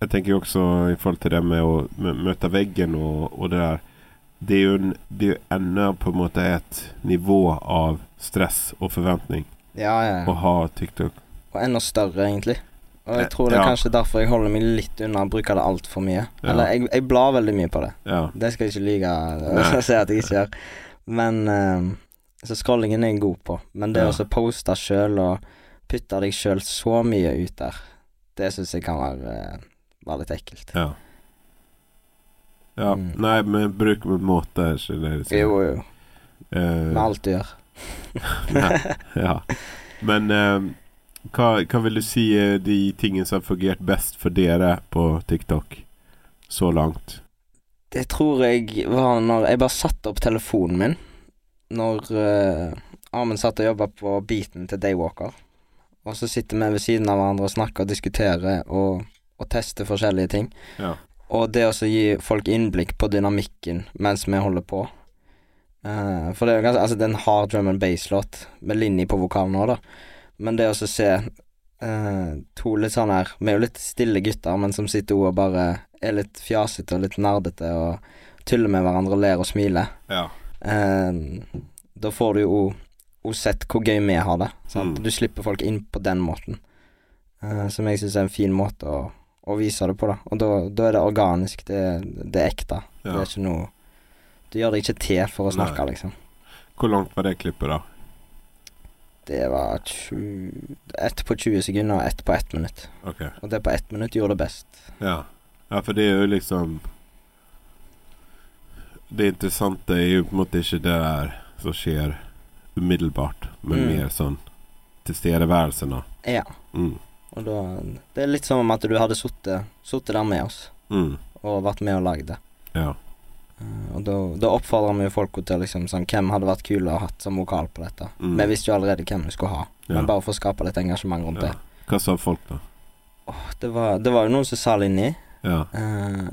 Jeg tenker jo også i forhold til det med å mø- møte veggen og, og det der Det er jo en- det er jo ennå på en måte et nivå av stress og forventning
Ja, ja.
å ha TikTok.
Og enda større, egentlig. Og jeg tror det
Eh, Ja.
er kanskje derfor jeg holder meg litt unna å bruke det altfor mye.
Ja.
Eller jeg, jeg blar veldig mye på det.
Ja.
Det skal jeg ikke lyve
Nei.
og si at jeg ikke gjør. Men eh, Så scrollingen er jeg god på. Men det
Ja.
å så poste sjøl og putte deg sjøl så mye ut der, det syns jeg kan være, eh, være litt ekkelt.
Ja. ja.
Mm.
Nei, men bruk med måte, ikke det liksom.
Jo, jo.
Eh,
Med alt du gjør.
Nei, ja. Men eh, hva, hva vil du si er de tingene som har fungert best for dere på TikTok så langt?
Det tror jeg var når jeg bare satte opp telefonen min Når eh, Amund satt og jobba på beaten til Daywalker. Og så sitter vi ved siden av hverandre og snakker og diskuterer og, og tester forskjellige ting.
Ja.
Og det å så gi folk innblikk på dynamikken mens vi holder på. Eh, for det er jo ganske Altså, det er en hard drum and bass-låt med Linni på vokalen nå, da. Men det å så se eh, to litt sånn her Vi er jo litt stille gutter, men som sitter og bare er litt fjasete og litt nerdete og tuller med hverandre og ler og smiler.
Ja.
Eh, da får du jo òg sett hvor gøy vi har det. Sant?
Mm.
Du slipper folk inn på den måten, eh, som jeg syns er en fin måte å, å vise det på, da. Og da, da er det organisk, det, er- det er ekte. Det
ja.
er ikke noe Du gjør deg ikke til for å
Nei.
snakke, liksom.
Hvor langt var det klippet, da?
Det var 20, ett på 20 sekunder og ett på ett minutt.
Ok.
Og det på ett minutt gjorde det best.
Ja. ja, for det er jo liksom Det interessante er jo på en måte ikke det der som skjer umiddelbart, men
Mm.
mer sånn tilstedeværelsen, da.
Ja.
Mm.
Og da Det er litt som om at du hadde sittet sittet der med oss
Mm.
og vært med og lagd det.
Ja.
Eh, Og da, da oppfordrer vi jo folk til liksom sånn Hvem hadde vært kul å ha hatt som vokal på dette?
Mm.
Vi visste jo allerede hvem vi skulle ha,
Ja.
men bare for å skape litt engasjement rundt
ja. Hva sa folk, da?
det. Det var, det var jo noen som sa Linni.
Ja,
Uh,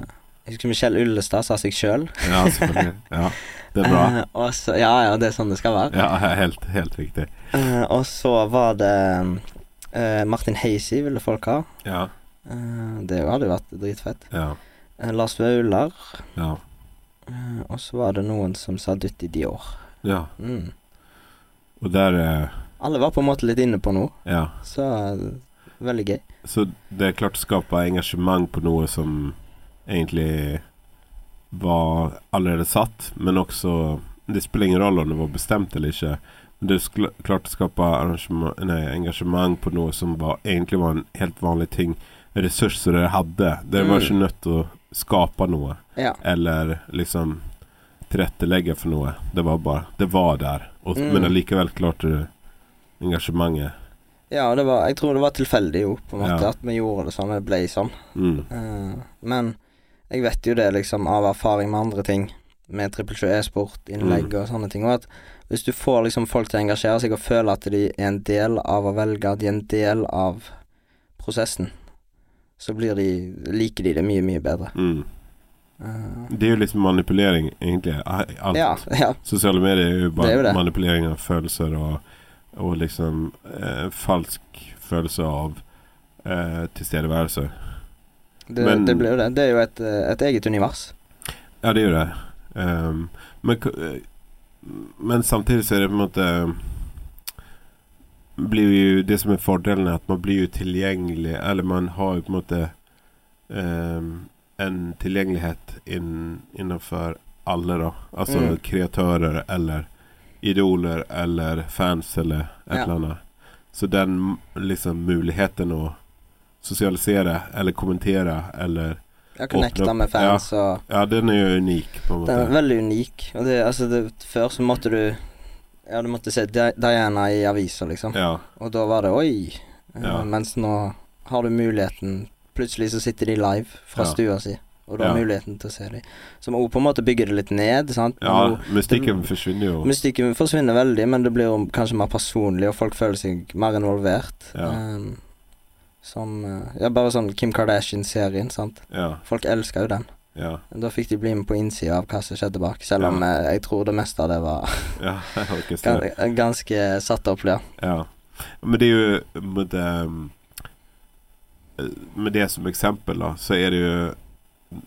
jeg husker Michelle Ullestad sa seg sjøl.
ja selvfølgelig. Ja. Det er bra.
ja, ja, det er sånn det skal være.
Ja, helt, helt riktig.
Eh, og så var det eh, Martin Heisi ville folk ha.
Ja.
Eh, det hadde jo vært dritfett.
Ja.
Eh, Lars Vaular.
Ja.
eh, og så var det noen som sa Dytti Dior.
ja.
Mm.
Og der eh,
Alle var på en måte litt inne på noe,
Ja.
så eh, veldig gøy.
Så det er klart å skape engasjement på noe som egentlig var allerede satt, men også Det spiller ingen rolle om det var bestemt eller ikke. Men det er skl- klart å skape arrangement- nei, engasjement på noe som var, egentlig var en helt vanlig ting. En ressurs som dere hadde. Dere var
Mm.
ikke nødt til å skape noe
Ja.
eller liksom tilrettelegge for noe. Det var bare Det var der. Og,
Mm.
Men allikevel klarte du engasjementet.
ja, og det var, jeg tror det var tilfeldig jo, på en måte,
Ja.
at vi gjorde det sånn. Det ble sånn.
Mm.
Eh, men jeg vet jo det liksom av erfaring med andre ting, med trippel sjø e-sport, innlegg
Mm.
og sånne ting, og at hvis du får liksom folk til å engasjere seg og føle at de er en del av å velge, de er en del av prosessen, så blir de, liker de det mye, mye bedre.
Mm.
Eh,
Det er jo liksom manipulering, egentlig. Alt.
ja, ja,
Sosiale medier er jo
Det
bare
er jo det.
manipulering av følelser og, og liksom eh, falsk følelse av eh, tilstedeværelse.
det,
Men-
det blir jo det. Det er jo et, eh, et eget univers.
Ja, det er jo det. Ehm, men, k- eh, men samtidig så er det på en måte blir jo Det som er fordelen, er at man blir jo tilgjengelig Eller man har jo på en måte ehm, en tilgjengelighet inn, innenfor alle, da. Altså
Mm.
kreatører eller idoler eller fans eller et
Ja.
eller annet. Så den liksom muligheten å sosialisere eller kommentere eller
Jeg connecter
Åpne-
med fans og
Ja, den er jo unik, på en måte.
Den er veldig unik. Og det, altså det, før så måtte du Ja, du måtte se Di- Diana i avisa, liksom.
Ja,
Og da var det oi. Eh,
Ja.
Mens nå har du muligheten Plutselig så sitter de live fra
Ja.
stua si, og du har
Ja.
muligheten til å se dem. Som òg på en måte bygger det litt ned, sant.
ja
Nå-
mystikken forsvinner jo.
Mystikken forsvinner veldig, men det blir jo kanskje mer personlig, og folk føler seg mer involvert.
Ja.
Eh, som eh, Ja, bare sånn Kim Kardashian-serien, sant.
Ja,
Folk elsker jo den.
ja,
Da fikk de bli med på innsida av hva som skjedde bak, selv om eh, jeg tror det meste av det var
ja. orkester.
gans ganske satt opp, ja.
Ja. Men det er jo med det, eh, med det som eksempel, da, så er det jo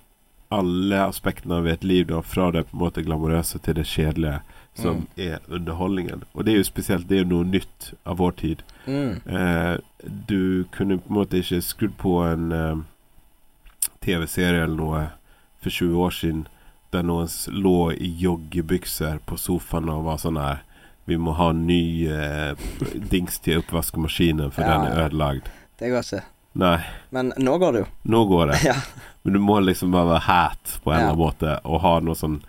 alle aspektene av et liv, da, fra det på en måte glamorøse til det kjedelige, som er underholdningen. Og det er jo spesielt, det er jo noe nytt av vår tid.
Mm.
Eh, du kunne på en måte ikke skrudd på en eh, TV-serie eller noe for 20 år siden der noen s- lå i joggebukser på sofaen og var sånn her Vi må ha en ny eh, dings til oppvaskmaskinen, for
Ja.
den er ødelagd.
Det går ikke.
Nei,
Men nå går det jo.
nå går det.
Ja.
Men du må liksom bare være hat på en
Ja.
eller annen måte og ha noe sånn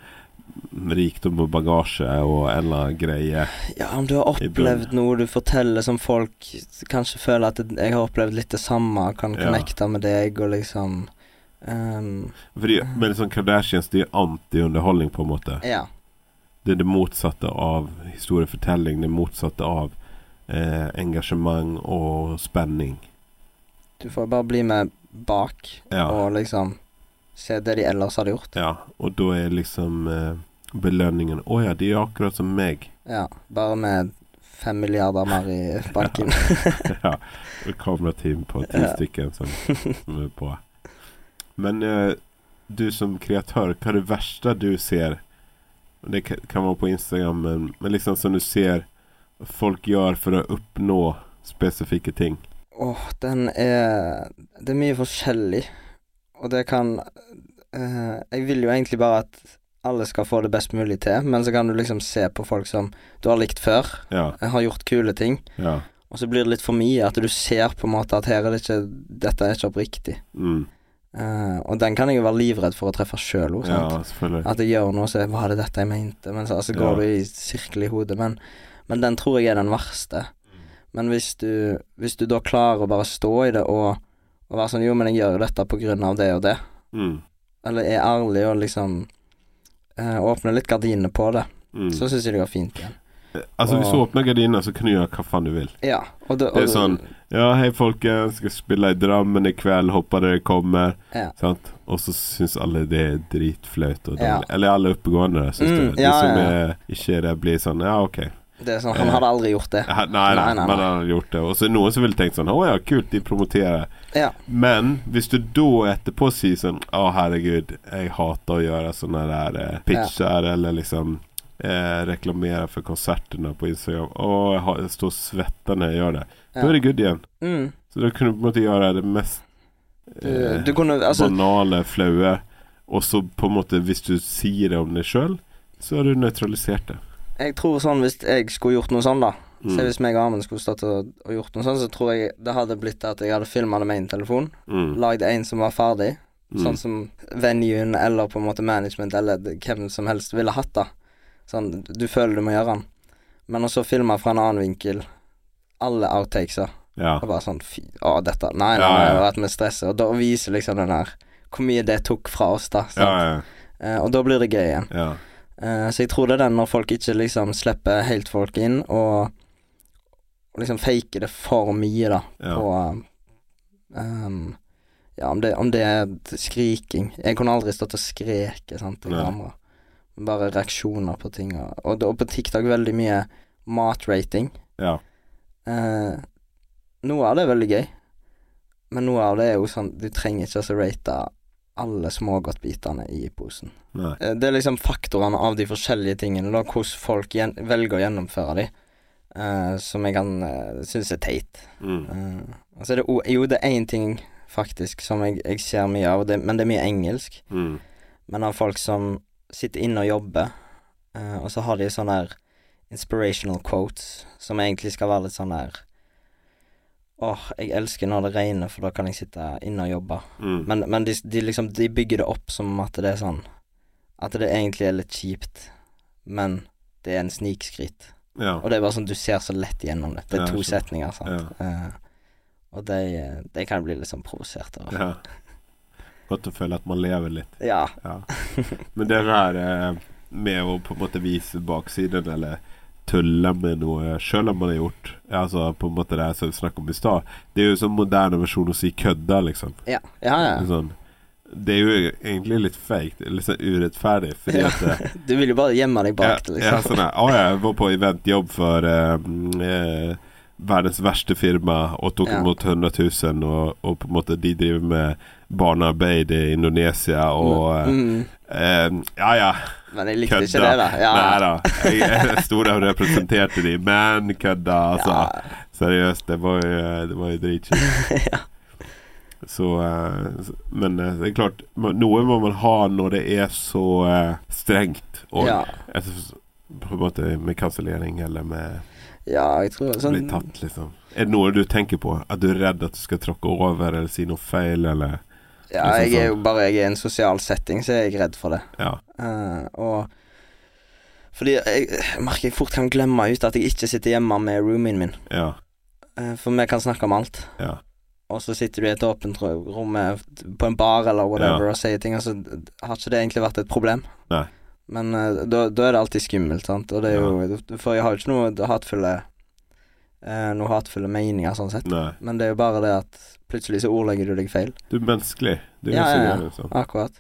rikdom og bagasje og en eller annen greie.
ja, om du har
I
opplevd noe du forteller som folk kanskje føler at det- jeg har opplevd litt det samme, kan
Ja.
connecte med deg og liksom ehm,
Fordi, men sånn Kardashians, det er jo anti-underholdning, på en måte.
Ja.
Det er det motsatte av historiefortelling. Det motsatte av eh, engasjement og spenning.
Du får bare bli med bak
Ja.
og liksom se det de ellers hadde gjort.
ja. Og da er liksom eh, belønningen Å ja, de er akkurat som meg.
Ja. Bare med fem milliarder mer i banken.
ja. Og Kamerateam på ti
Ja.
stycken som, som är på. Men eh, du som kreatör, vad är det värsta du ser? Det ka- kan vara på Instagram, men, men liksom som du ser folk gör för att uppnå specifika ting.
Åh, den er Det er mye forskjellig, og det kan eh, Jeg vil jo egentlig bare at alle skal få det best mulig til, men så kan du liksom se på folk som du har likt før, eh,
Ja,
har gjort kule ting,
ja.
og så blir det litt for mye at du ser på en måte at her er det ikke Dette er ikke oppriktig.
Mm.
Eh, og den kan jeg jo være livredd for å treffe sjøl òg, sant.
Ja, selvfølgelig.
At jeg gjør noe, så er, var det dette jeg mente, men så altså,
Ja.
går du i sirkel i hodet. Men, men den tror jeg er den verste. Men hvis du, hvis du da klarer å bare stå i det og, og være sånn Jo, men jeg gjør jo dette på grunn av det og det.
Mm.
Eller er ærlig og liksom eh, åpner litt gardinene på det.
Mm.
Så syns jeg det går fint igjen.
Alltså hvis du
Ja.
öppnar gardinerna så kan du göra vad fan du vill.
Ja, og da-
Det er
og-
sånn- Ja, hej folk, jag ska spela i Drammen ikväll, hoppa där det kommer.
Ja.
Sant? Och så syns alla det är dritflöjt och
Ja.
dåligt. Eller alla uppegående där syns
Mm,
det.
ja,
det som
ja.
är, ikke det blir sånn Ja, okej.
Det er sånn Han hadde aldri gjort det.
Ja, nej,
Nej,
nej,
nej,
man
nej.
har gjort det. Och så är det någon som vill tänkt sånn Åh ja, kul, de promoterar.
Ja.
Men, hvis du då etterpå sier sånn Å, herregud, jeg hater å gjøre sånne der eh, pitcher eller liksom eh, reklamere for konsertene på Instagram. Å, jeg, har, jeg står og svetter når jeg gjør det. Da er det good igjen.
Mm.
Så da kunne du på en måte gjøre det mest eh,
Du, du kunne Altså
banale, flaue, og så på en måte hvis du sier det om deg sjøl, så har du nøytralisert det.
Jeg tror sånn hvis jeg skulle gjort noe sånn, da.
Mm.
Se hvis meg og Amund skulle stått og, og gjort noe sånn, så tror jeg det hadde blitt at jeg hadde filma det med én telefon,
Mm.
lagd en som var ferdig,
Mm.
sånn som venuen eller på en måte management eller d- hvem som helst ville hatt, da. Sånn, du føler du må gjøre den. Men også filme fra en annen vinkel. Alle outtakesa.
Ja.
Og bare sånn fy, å, dette Nei, nei,
Ja,
nei,
ja.
og at vi stresser. Og da viser liksom den her hvor mye det tok fra oss, da. sant?
Ja, ja,
Eh, og da blir det gøy igjen.
ja.
Eh, Så jeg tror det er den når folk ikke liksom slipper helt folk inn, og, og liksom faker det for mye, da,
ja.
på ehm, Ja, om det, om det er t- skriking Jeg kunne aldri stått og skreket, sant, i
Nei.
kamera. Bare reaksjoner på ting, og, og, da- og på TikTok veldig mye matrating.
ja.
Eh, noe av det er veldig gøy, men noe av det er jo sånn Du trenger ikke å rate alle smågodtbitene i posen.
Nei.
Eh, Det er liksom faktorene av de forskjellige tingene, da, hvordan folk gjen velger å gjennomføre de, eh, som jeg kan eh, synes er teit.
Mm.
Eh, og så er det o- jo, det er én ting faktisk som jeg, jeg ser mye av, og det, men det er mye engelsk.
Mm.
Men av folk som sitter inne og jobber, eh, og så har de sånne her inspirational quotes, som egentlig skal være litt sånn der Åh, jeg elsker når det regner, for da kan jeg sitte inne og jobbe.
Mm.
Men, men de, de liksom De bygger det opp som at det er sånn At det egentlig er litt kjipt Men det er en snikskritt
ja.
Og det er bare sånn du ser så lett gjennom det Det
Ja,
er to
jeg skjønner.
setninger sant
ja.
Eh, Og de, de kan bli litt sånn provosert av
Ja. Godt å føle at man lever litt.
Ja,
Ja. Men det der eh, med å på en måte vise baksiden eller tulle med noe sjøl om man har gjort Altså på en måte det her som vi snakket om i stad, det er jo en sånn moderne versjon å si kødda, liksom.
ja, ja,
En
ja.
Sånn, det er jo egentlig litt fake, litt sånn urettferdig, fordi
Ja.
at eh,
Du vil jo bare gjemme deg bak det
ja, ja,
liksom
sånn her. Å ja, jeg var på eventjobb for eh, mm, eh, verdens verste firma og tok
Ja.
imot 100 000, og, og på en måte de driver med barnearbeid i Indonesia og eh,
mm,
eh, Ja ja,
Men jeg likte ikke
kødda.
det da ja.
Nei da. Jeg, jeg sto der og representerte de, men kødda, altså.
ja.
Seriøst, det var jo, eh, det var jo dritkjipt. Så, eh, så- Men eh, det er klart, man- noe må man ha når det er så eh, strengt. Og
ja,
jeg synes Altså, på en måte med kansellering eller med
ja, jeg tror
å
sånn,
bli tatt, liksom. Er det noe du tenker på? At du er redd at du skal tråkke over eller si noe feil, eller
Ja,
liksom
jeg er jo
sånn.
bare Jeg er i en sosial setting Så er jeg redd for det
Ja.
Eh, og fordi jeg jeg merker jeg fort kan glemme ut at jeg ikke sitter hjemme med roomien min.
Ja.
Eh, for vi kan snakke om alt.
Ja.
Og så sitter du i et åpent ro- rom eh, på en bar eller whatever og sier ting, og så d- har ikke det egentlig vært et problem.
Nei.
Men eh, da da er det alltid skummelt, sant. Og det er jo, for jeg har jo ikke noe hatefulle eh, Noe hatefulle meninger, sånn sett.
Nei.
Men det er jo bare det at plutselig så ordlegger du deg feil.
Du er menneskelig. Du er
Ja,
så
ja, ja.
gøy, liksom.
mm, Akkurat.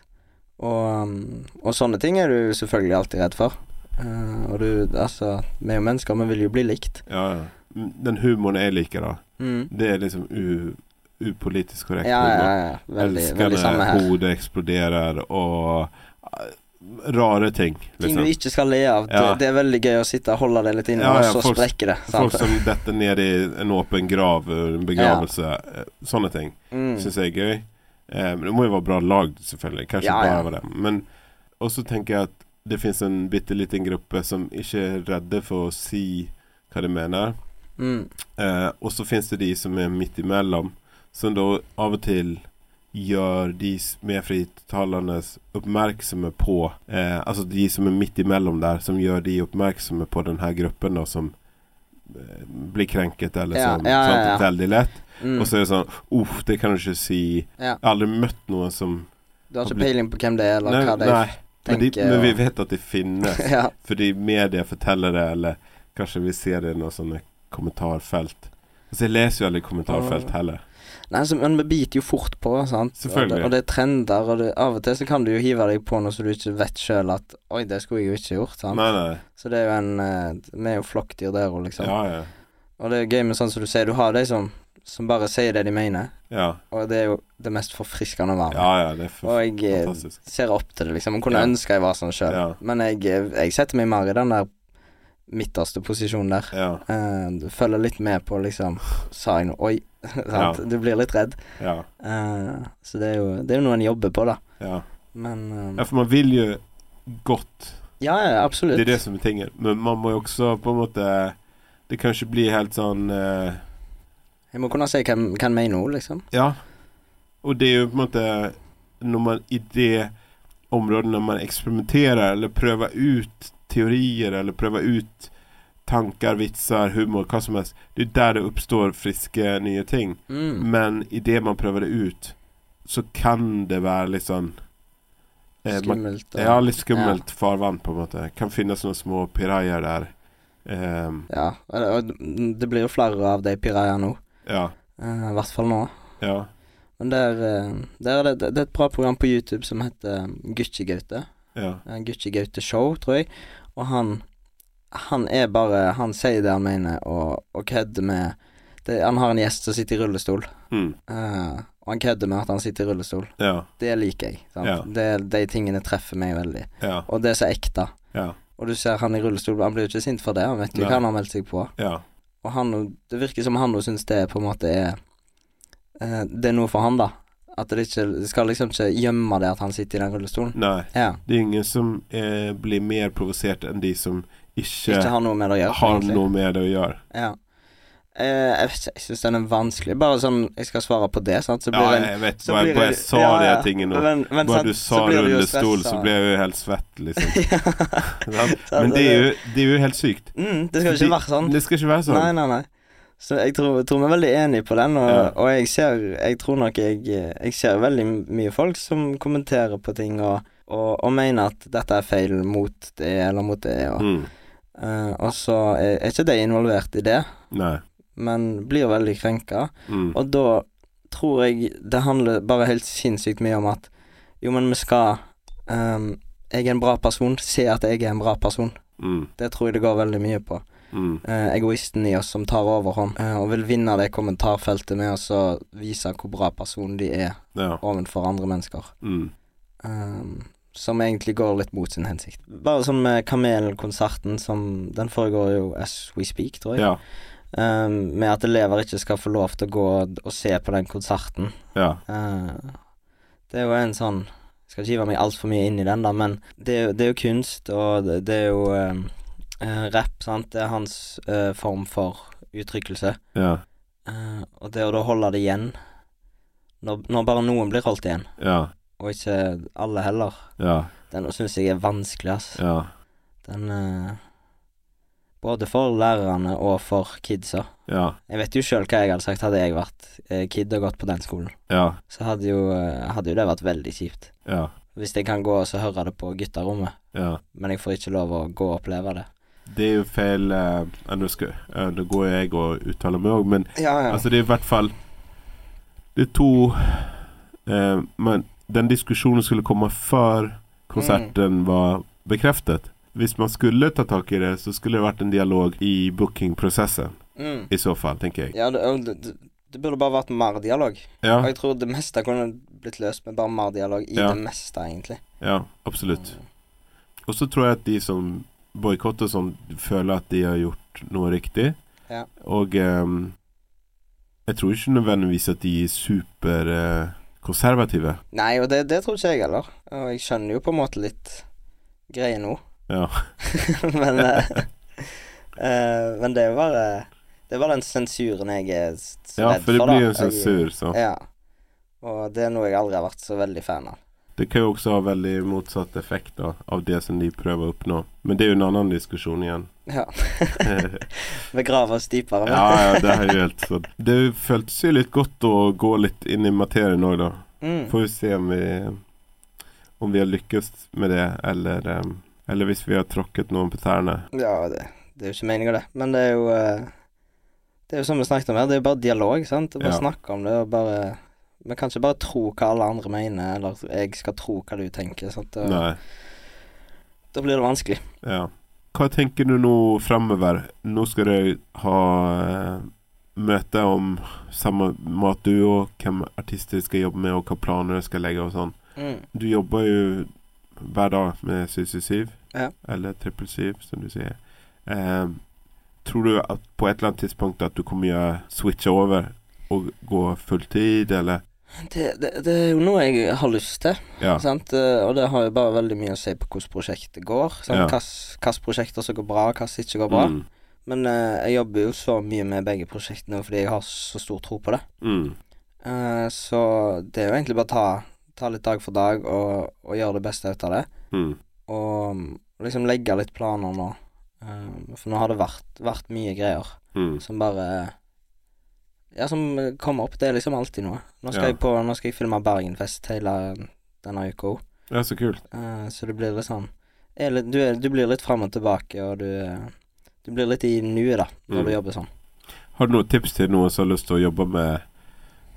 Og, um, og sånne ting er du selvfølgelig alltid redd for. Eh, og du, altså Vi er jo mennesker, vi vil jo bli likt.
Ja, ja. Mm, Den humoren jeg liker, da,
Mm.
det er liksom u, upolitisk korrekt.
Ja, ja,
humor.
ja. Veldig,
Elsker
veldig
det,
samme her.
Hodet eksploderer og eh, rare ting,
Ting du
liksom.
ikke skal le av.
Ja.
Det, det er veldig gøy å sitte og holde det litt inne,
Ja, ja,
og så
folk-
sprekker det.
Folk
Sant?
som detter ned i en åpen grav, en begravelse. eh, Sånne ting
Mm.
syns jeg er gøy. Eh, men det må jo være bra lagd, selvfølgelig. Kanskje
Ja,
bare
ja.
være det. Men Og så tenker jeg at det fins en bitte liten gruppe som ikke er redde for å si hva de mener.
Mm.
Eh, og så fins det de som er midt imellom, som da av og til gjør de s- medfritalende s- oppmerksomme på eh, Altså de som er midt imellom der, som gjør de oppmerksomme på den her gruppen da, som eh, blir krenket, eller
Ja,
som
ja, ja,
sant,
ja.
veldig lett.
Mm.
Og så er det sånn Uff, det kan du ikke si.
Ja.
Jeg har aldri møtt noen som
Du har ikke peiling på hvem det er, eller
Nei,
hva de
nei men, de,
tenker.
men vi
og-
vet at de finnes.
ja.
Fordi media forteller det, eller kanskje vi ser det i noen sånne kommentarfelt. Altså, jeg leser jo aldri kommentarfelt heller.
Nei, så, men vi biter jo fort på, sant.
Selvfølgelig.
Og det, og det er trender, og det, av og til så kan du jo hive deg på noe som du ikke vet sjøl at Oi, det skulle jeg jo ikke gjort, sant.
Nei, nei.
Så det er jo en eh, Vi er jo flokkdyr der òg, liksom.
Ja, ja.
Og det er gøy med sånn som du sier, du har de som, som bare sier det de mener,
Ja,
og det er jo det mest forfriskende å være.
ja, ja det er
og
for
jeg eh,
fantastisk.
ser opp til det, liksom. Jeg kunne
Ja.
ønske jeg var sånn sjøl.
Ja.
Men jeg, eh, jeg setter meg mer i den der midterste posisjonen der.
Ja,
Eh, du følger litt med på, liksom Sa jeg noe Oi. sant?
Ja.
Du blir litt redd.
ja,
Eh, så det er, jo, det er jo noe en jobber på, da.
ja.
Men eh,
ja, for man vil jo godt.
Ja, ja, absolutt.
Det er det som er tingen. Men man må jo også på en måte Det kan ikke bli helt sånn eh,
Jeg må kunne si hvem, hvem jeg er nå, liksom.
Ja. Og det er jo på en måte Når man i det området når man eksperimenterer eller prøver ut teorier eller prøver ut tanker, vitser, humor, hva som helst Det er der det oppstår friske, nye ting.
Mm.
Men i det man prøver det ut, så kan det være litt sånn eh, man,
Skummelt. og-
Ja, litt skummelt farvann, på en måte. Kan finnes noen små pirajaer der. Ehm,
Ja, og- og det blir jo flere av de pirajaene nå.
ja.
Eh, I hvert fall nå.
Ja.
Men der, eh, der er det, det er et bra program på YouTube som heter eh, Gucci Gaute.
Ja.
Eh, Gucci Gaute Show, tror jeg. Og han Han er bare Han sier det han mener, og, og kødder med det, Han har en gjest som sitter i rullestol,
Mm,
eh, og han kødder med at han sitter i rullestol.
ja.
Det liker jeg. Sant?
Ja.
Det, de tingene treffer meg veldig.
Ja.
Og det er så ekte.
Ja.
Og du ser han i rullestol, han blir jo ikke sint for det, han vet jo
Nei.
hva han har meldt seg på.
Ja.
Og han, det virker som han nå syns det på en måte er eh, Det er noe for han, da. At det ikke det skal liksom ikke gjemme det at han sitter i den rullestolen.
Nei.
Ja.
Det er ingen som eh, blir mer provosert enn de som ikke,
Ikke har noe med det å gjøre.
har
egentlig.
noe med det å gjøre.
Ja. Eh, jeg vet ikke, jeg syns den er vanskelig. Bare sånn jeg skal svare på det, sant, så
Ja,
blir det en
jeg vet
så
bare
blir
jeg, bare jeg
det-
sa
ja,
de
ja.
her tingene nå.
men, men
Bare
sant,
du sa
så blir du jo
rullestol,
stressa.
så ble jeg jo helt svett, liksom.
ja. sant,
Men det er, jo, det er jo helt sykt.
mm, Det skal jo ikke være sånn.
Det skal ikke være
Nei,
sånn.
nei, nei. Så jeg tror, jeg tror vi er veldig enige på den, og,
Ja.
og jeg ser Jeg tror nok jeg Jeg ser veldig mye folk som kommenterer på ting og, og, og mener at dette er feil mot det eller mot det, og,
Mm.
eh, og så er, er ikke de involvert i det,
Nei.
men blir veldig krenka.
Mm.
Og da tror jeg det handler bare helt sinnssykt mye om at jo, men vi skal ehm, Jeg er en bra person. Se at jeg er en bra person.
Mm.
Det tror jeg det går veldig mye på.
Mm.
Eh, egoisten i oss som tar overhånd eh, og vil vinne det kommentarfeltet med å så vise hvor bra person de er
Ja.
overfor andre mennesker.
Mm.
Ehm, som egentlig går litt mot sin hensikt. Bare sånn med Kamelen-konserten som Den foregår jo as we speak, tror jeg.
Ja.
Ehm, med at elever ikke skal få lov til å gå og se på den konserten.
Ja.
Eh, det er jo en sånn Jeg skal ikke hive meg altfor mye inn i den, da, men det er, jo- det er jo kunst, og det, det er jo eh, eh, rapp, sant. Det er hans eh, form for uttrykkelse.
Ja.
Eh, og det å da holde det igjen, når, når bare noen blir holdt igjen,
Ja.
og ikke alle heller,
Ja.
den syns jeg er vanskelig, ass.
Ja.
Den eh, Både for lærerne og for kidsa.
Ja.
Jeg vet jo sjøl hva jeg hadde sagt hadde jeg vært eh, kid og gått på den skolen.
Ja.
Så hadde jo, eh, hadde jo det vært veldig kjipt.
Ja.
Hvis jeg kan gå og så høre det på gutterommet,
ja.
men jeg får ikke lov å gå og oppleve det.
Det er jo feil eh, eh, Nå skal- eh, nå går jeg og uttaler meg òg, men
Ja,
Altså det er i hvert fall Det er to
Mm.
eh, Men den diskusjonen skulle komme før konserten var bekreftet. Hvis man skulle ta tak i det, så skulle det vært en dialog i bookingprosessen.
Mm.
I så fall, tenker jeg.
Ja, det, og det, det- det burde bare vært mer dialog. Og
Ja,
jeg tror det meste kunne blitt løst med bare mer dialog i
Ja.
det meste, egentlig.
ja absolutt. Og så tror jeg at de som boikotter, som føler at de har gjort noe riktig
Ja.
Og ehm, jeg tror ikke nødvendigvis at de er eh, superkonservative.
Nei, og det, det tror ikke jeg heller. Og jeg skjønner jo på en måte litt greie nå.
Ja.
men, eh, eh, men det er jo bare Det er bare den sensuren jeg er s- s-
ja,
redd
for det
da.
blir jo en
Jeg-
sensur, så
Ja. Og det er noe jeg aldri har vært så veldig fan av.
Det kan jo også ha veldig motsatt effekt da, av det som de prøver å oppnå. Men det er jo en annen diskusjon igjen.
Ja.
ja,
Begrave oss dypere. men-
ja, det er jo helt sånn. Det føltes jo litt godt å gå litt inn i materien òg, da.
Mm.
Får vi se om vi, om vi har lykkes med det, eller, eh, eller hvis vi har tråkket noen på tærne.
Ja, det, det er jo ikke meninga, det. Men det er jo eh, Det er jo som vi snakket om her, det er jo bare dialog, sant. Det er Bare
Ja.
snakke om det og bare Vi kan ikke bare tro hva alle andre mener, eller at jeg skal tro hva du tenker. Sant? Da,
Nei.
da blir det vanskelig.
Ja. Hva tenker du nå fremover? Nå skal dere ha eh, møte om samme mat du og hvem artister dere skal jobbe med, og hva planer dere skal legge og sånn.
Mm.
Du jobber jo hver dag med 777,
Ja.
eller 777, som du sier. Eh, tror du at på et eller annet tidspunkt at du kommer gjøre switche over og gå fulltid, eller?
Det, det, det er jo noe jeg har lyst til.
Ja.
Sant? Eh, Og det har jo bare veldig mye å si på hvordan prosjektet går.
Ja.
Hvilke prosjekter som går bra, hvilke som ikke går bra.
Mm.
Men eh, jeg jobber jo så mye med begge prosjektene nå fordi jeg har så stor tro på det.
Mm.
Eh, så det er jo egentlig bare å ta, ta litt dag for dag og, og gjøre det beste ut av det.
Mm.
Og mm, liksom legge litt planer nå. Eh, for nå har det vært, vært mye greier
Mm.
som bare Ja, som kommer opp. Det er liksom alltid noe. Nå skal,
Ja.
jeg, på, nå skal jeg filme Bergenfest hele denne uka òg.
Ja, så kult.
Eh, så det blir litt sånn er litt, du, er, du blir litt fram og tilbake, og du, eh, du blir litt i nuet, da, når
Mm.
du jobber sånn.
Har du noen tips til noen som har lyst til å jobbe med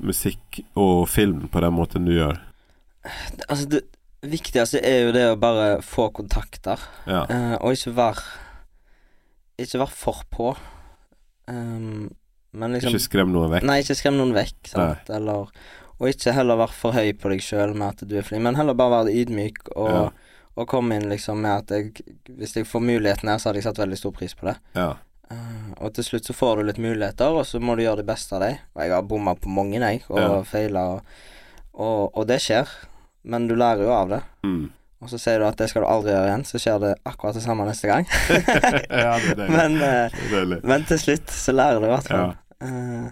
musikk og film på den måten du gjør?
Altså, det viktigste er jo det å bare få kontakter,
Ja.
eh, og ikke være Ikke være for på. Ehm, men liksom
Ikke skrem noen vekk.
Nei, ikke skrem noen vekk, sant, eller Og ikke heller være for høy på deg sjøl med at du er flink, men heller bare være ydmyk og,
Ja.
og komme inn liksom med at jeg Hvis jeg får muligheten her, så hadde jeg satt veldig stor pris på det.
Ja.
Eh, og til slutt så får du litt muligheter, og så må du gjøre det beste av dem. Og jeg har bomma på mange, jeg, og
Ja.
feila, og, og, og det skjer. Men du lærer jo av det.
Mm.
Og så sier du at det skal du aldri gjøre igjen, så skjer det akkurat det samme neste gang.
ja, det er deilig.
men, eh,
Det er deilig.
men til slutt så lærer du i hvert fall.
Ja.
Eh,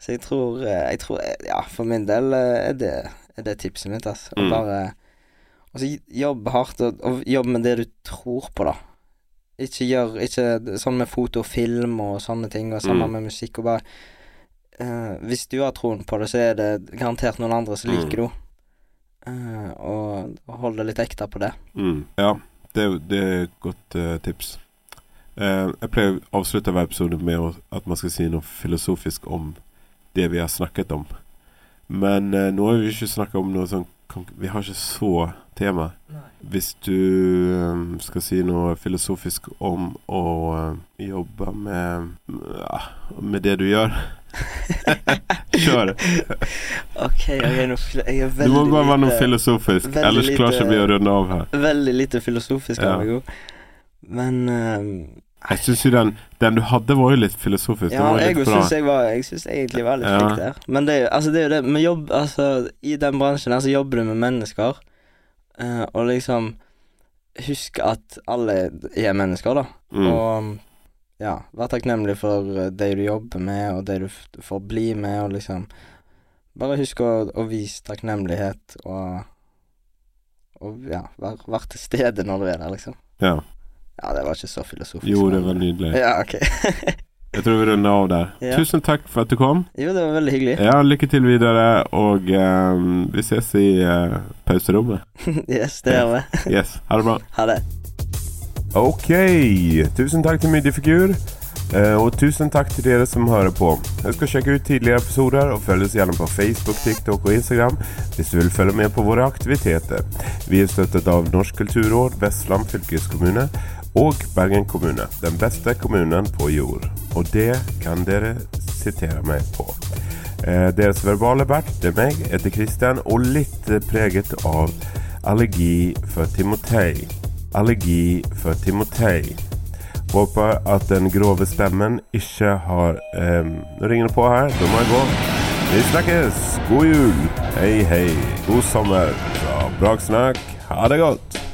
så jeg tror, eh, jeg tror eh, Ja, for min del eh, er det, er det tipset mitt, altså.
Mm.
Og bare Og så jobb hardt, og, og jobb med det du tror på, da. Ikke gjør ikke sånn med foto og film og sånne ting, og sammen
Mm.
med musikk og bare eh, Hvis du har troen på det, så er det garantert noen andre som
Mm.
liker det. Eh, og, og hold det litt ekte på det.
Mm. Ja, det er, jo- det er et godt eh, tips. Eh, jeg pleier å avslutte hver episode med å- at man skal si noe filosofisk om det vi har snakket om. Men eh, nå har vi ikke snakket om noe sånn konk- Vi har ikke så tema. Hvis du eh, skal si noe filosofisk om å eh, jobbe med ja, med det du gjør Kjør!
OK, jeg er, noe, fil- jeg er
Du
veldig
må bare være noe
lite-
filosofisk,
veldig
ellers klarer ikke
lite-
vi å runde av her.
Veldig lite filosofisk
Ja.
av meg òg. Men eh,
Jeg syns jo den, den du hadde, var jo litt filosofisk.
Ja,
den var jo
jeg
litt
òg
bra.
syns jeg var Jeg syns egentlig jeg var litt
Ja.
flink der. Men det er jo altså det, er jo det med jobb Altså, i den bransjen her så jobber du med mennesker, eh, og liksom Husk at alle er mennesker, da.
Mm.
Og ja, vær takknemlig for eh, det du jobber med, og det du f får bli med, og liksom Bare husk å, å vise takknemlighet, og Og ja, vær, vær til stede når du er der, liksom.
Ja.
Ja, det var ikke så filosofisk.
Jo, det
men-
var nydelig.
Ja, ok.
Jeg tror vi runder av der.
Ja.
Tusen takk for at du kom.
Jo, det var veldig hyggelig.
Ja, Lykke til videre, og eh, vi ses i eh, pauserommet.
yes, det gjør vi.
Yes, ha det bra.
Ha det.
Ok, tusen takk til Midjefigur. Eh, Og tusen takk til dere som hører på. Husk å sjekke ut tidligere episoder, og følg oss gjerne på Facebook, TikTok og Instagram hvis du vil følge med på våre aktiviteter. Vi er støttet av Norsk kulturråd, Vestland fylkeskommune og Bergen kommune. Den beste kommunen på jord. Og det kan dere sitere meg på. Eh, Deres verbale bert, det er meg, heter Christian, og litt eh, preget av allergi for Timotei. Allergi for Timotei. Håper at den grove stemmen ikke har eh, Nå ringer det på her. Da må jeg gå. Vi snakkes! God jul! Hei, hei. God sommer fra Braksnakk. Ha det godt!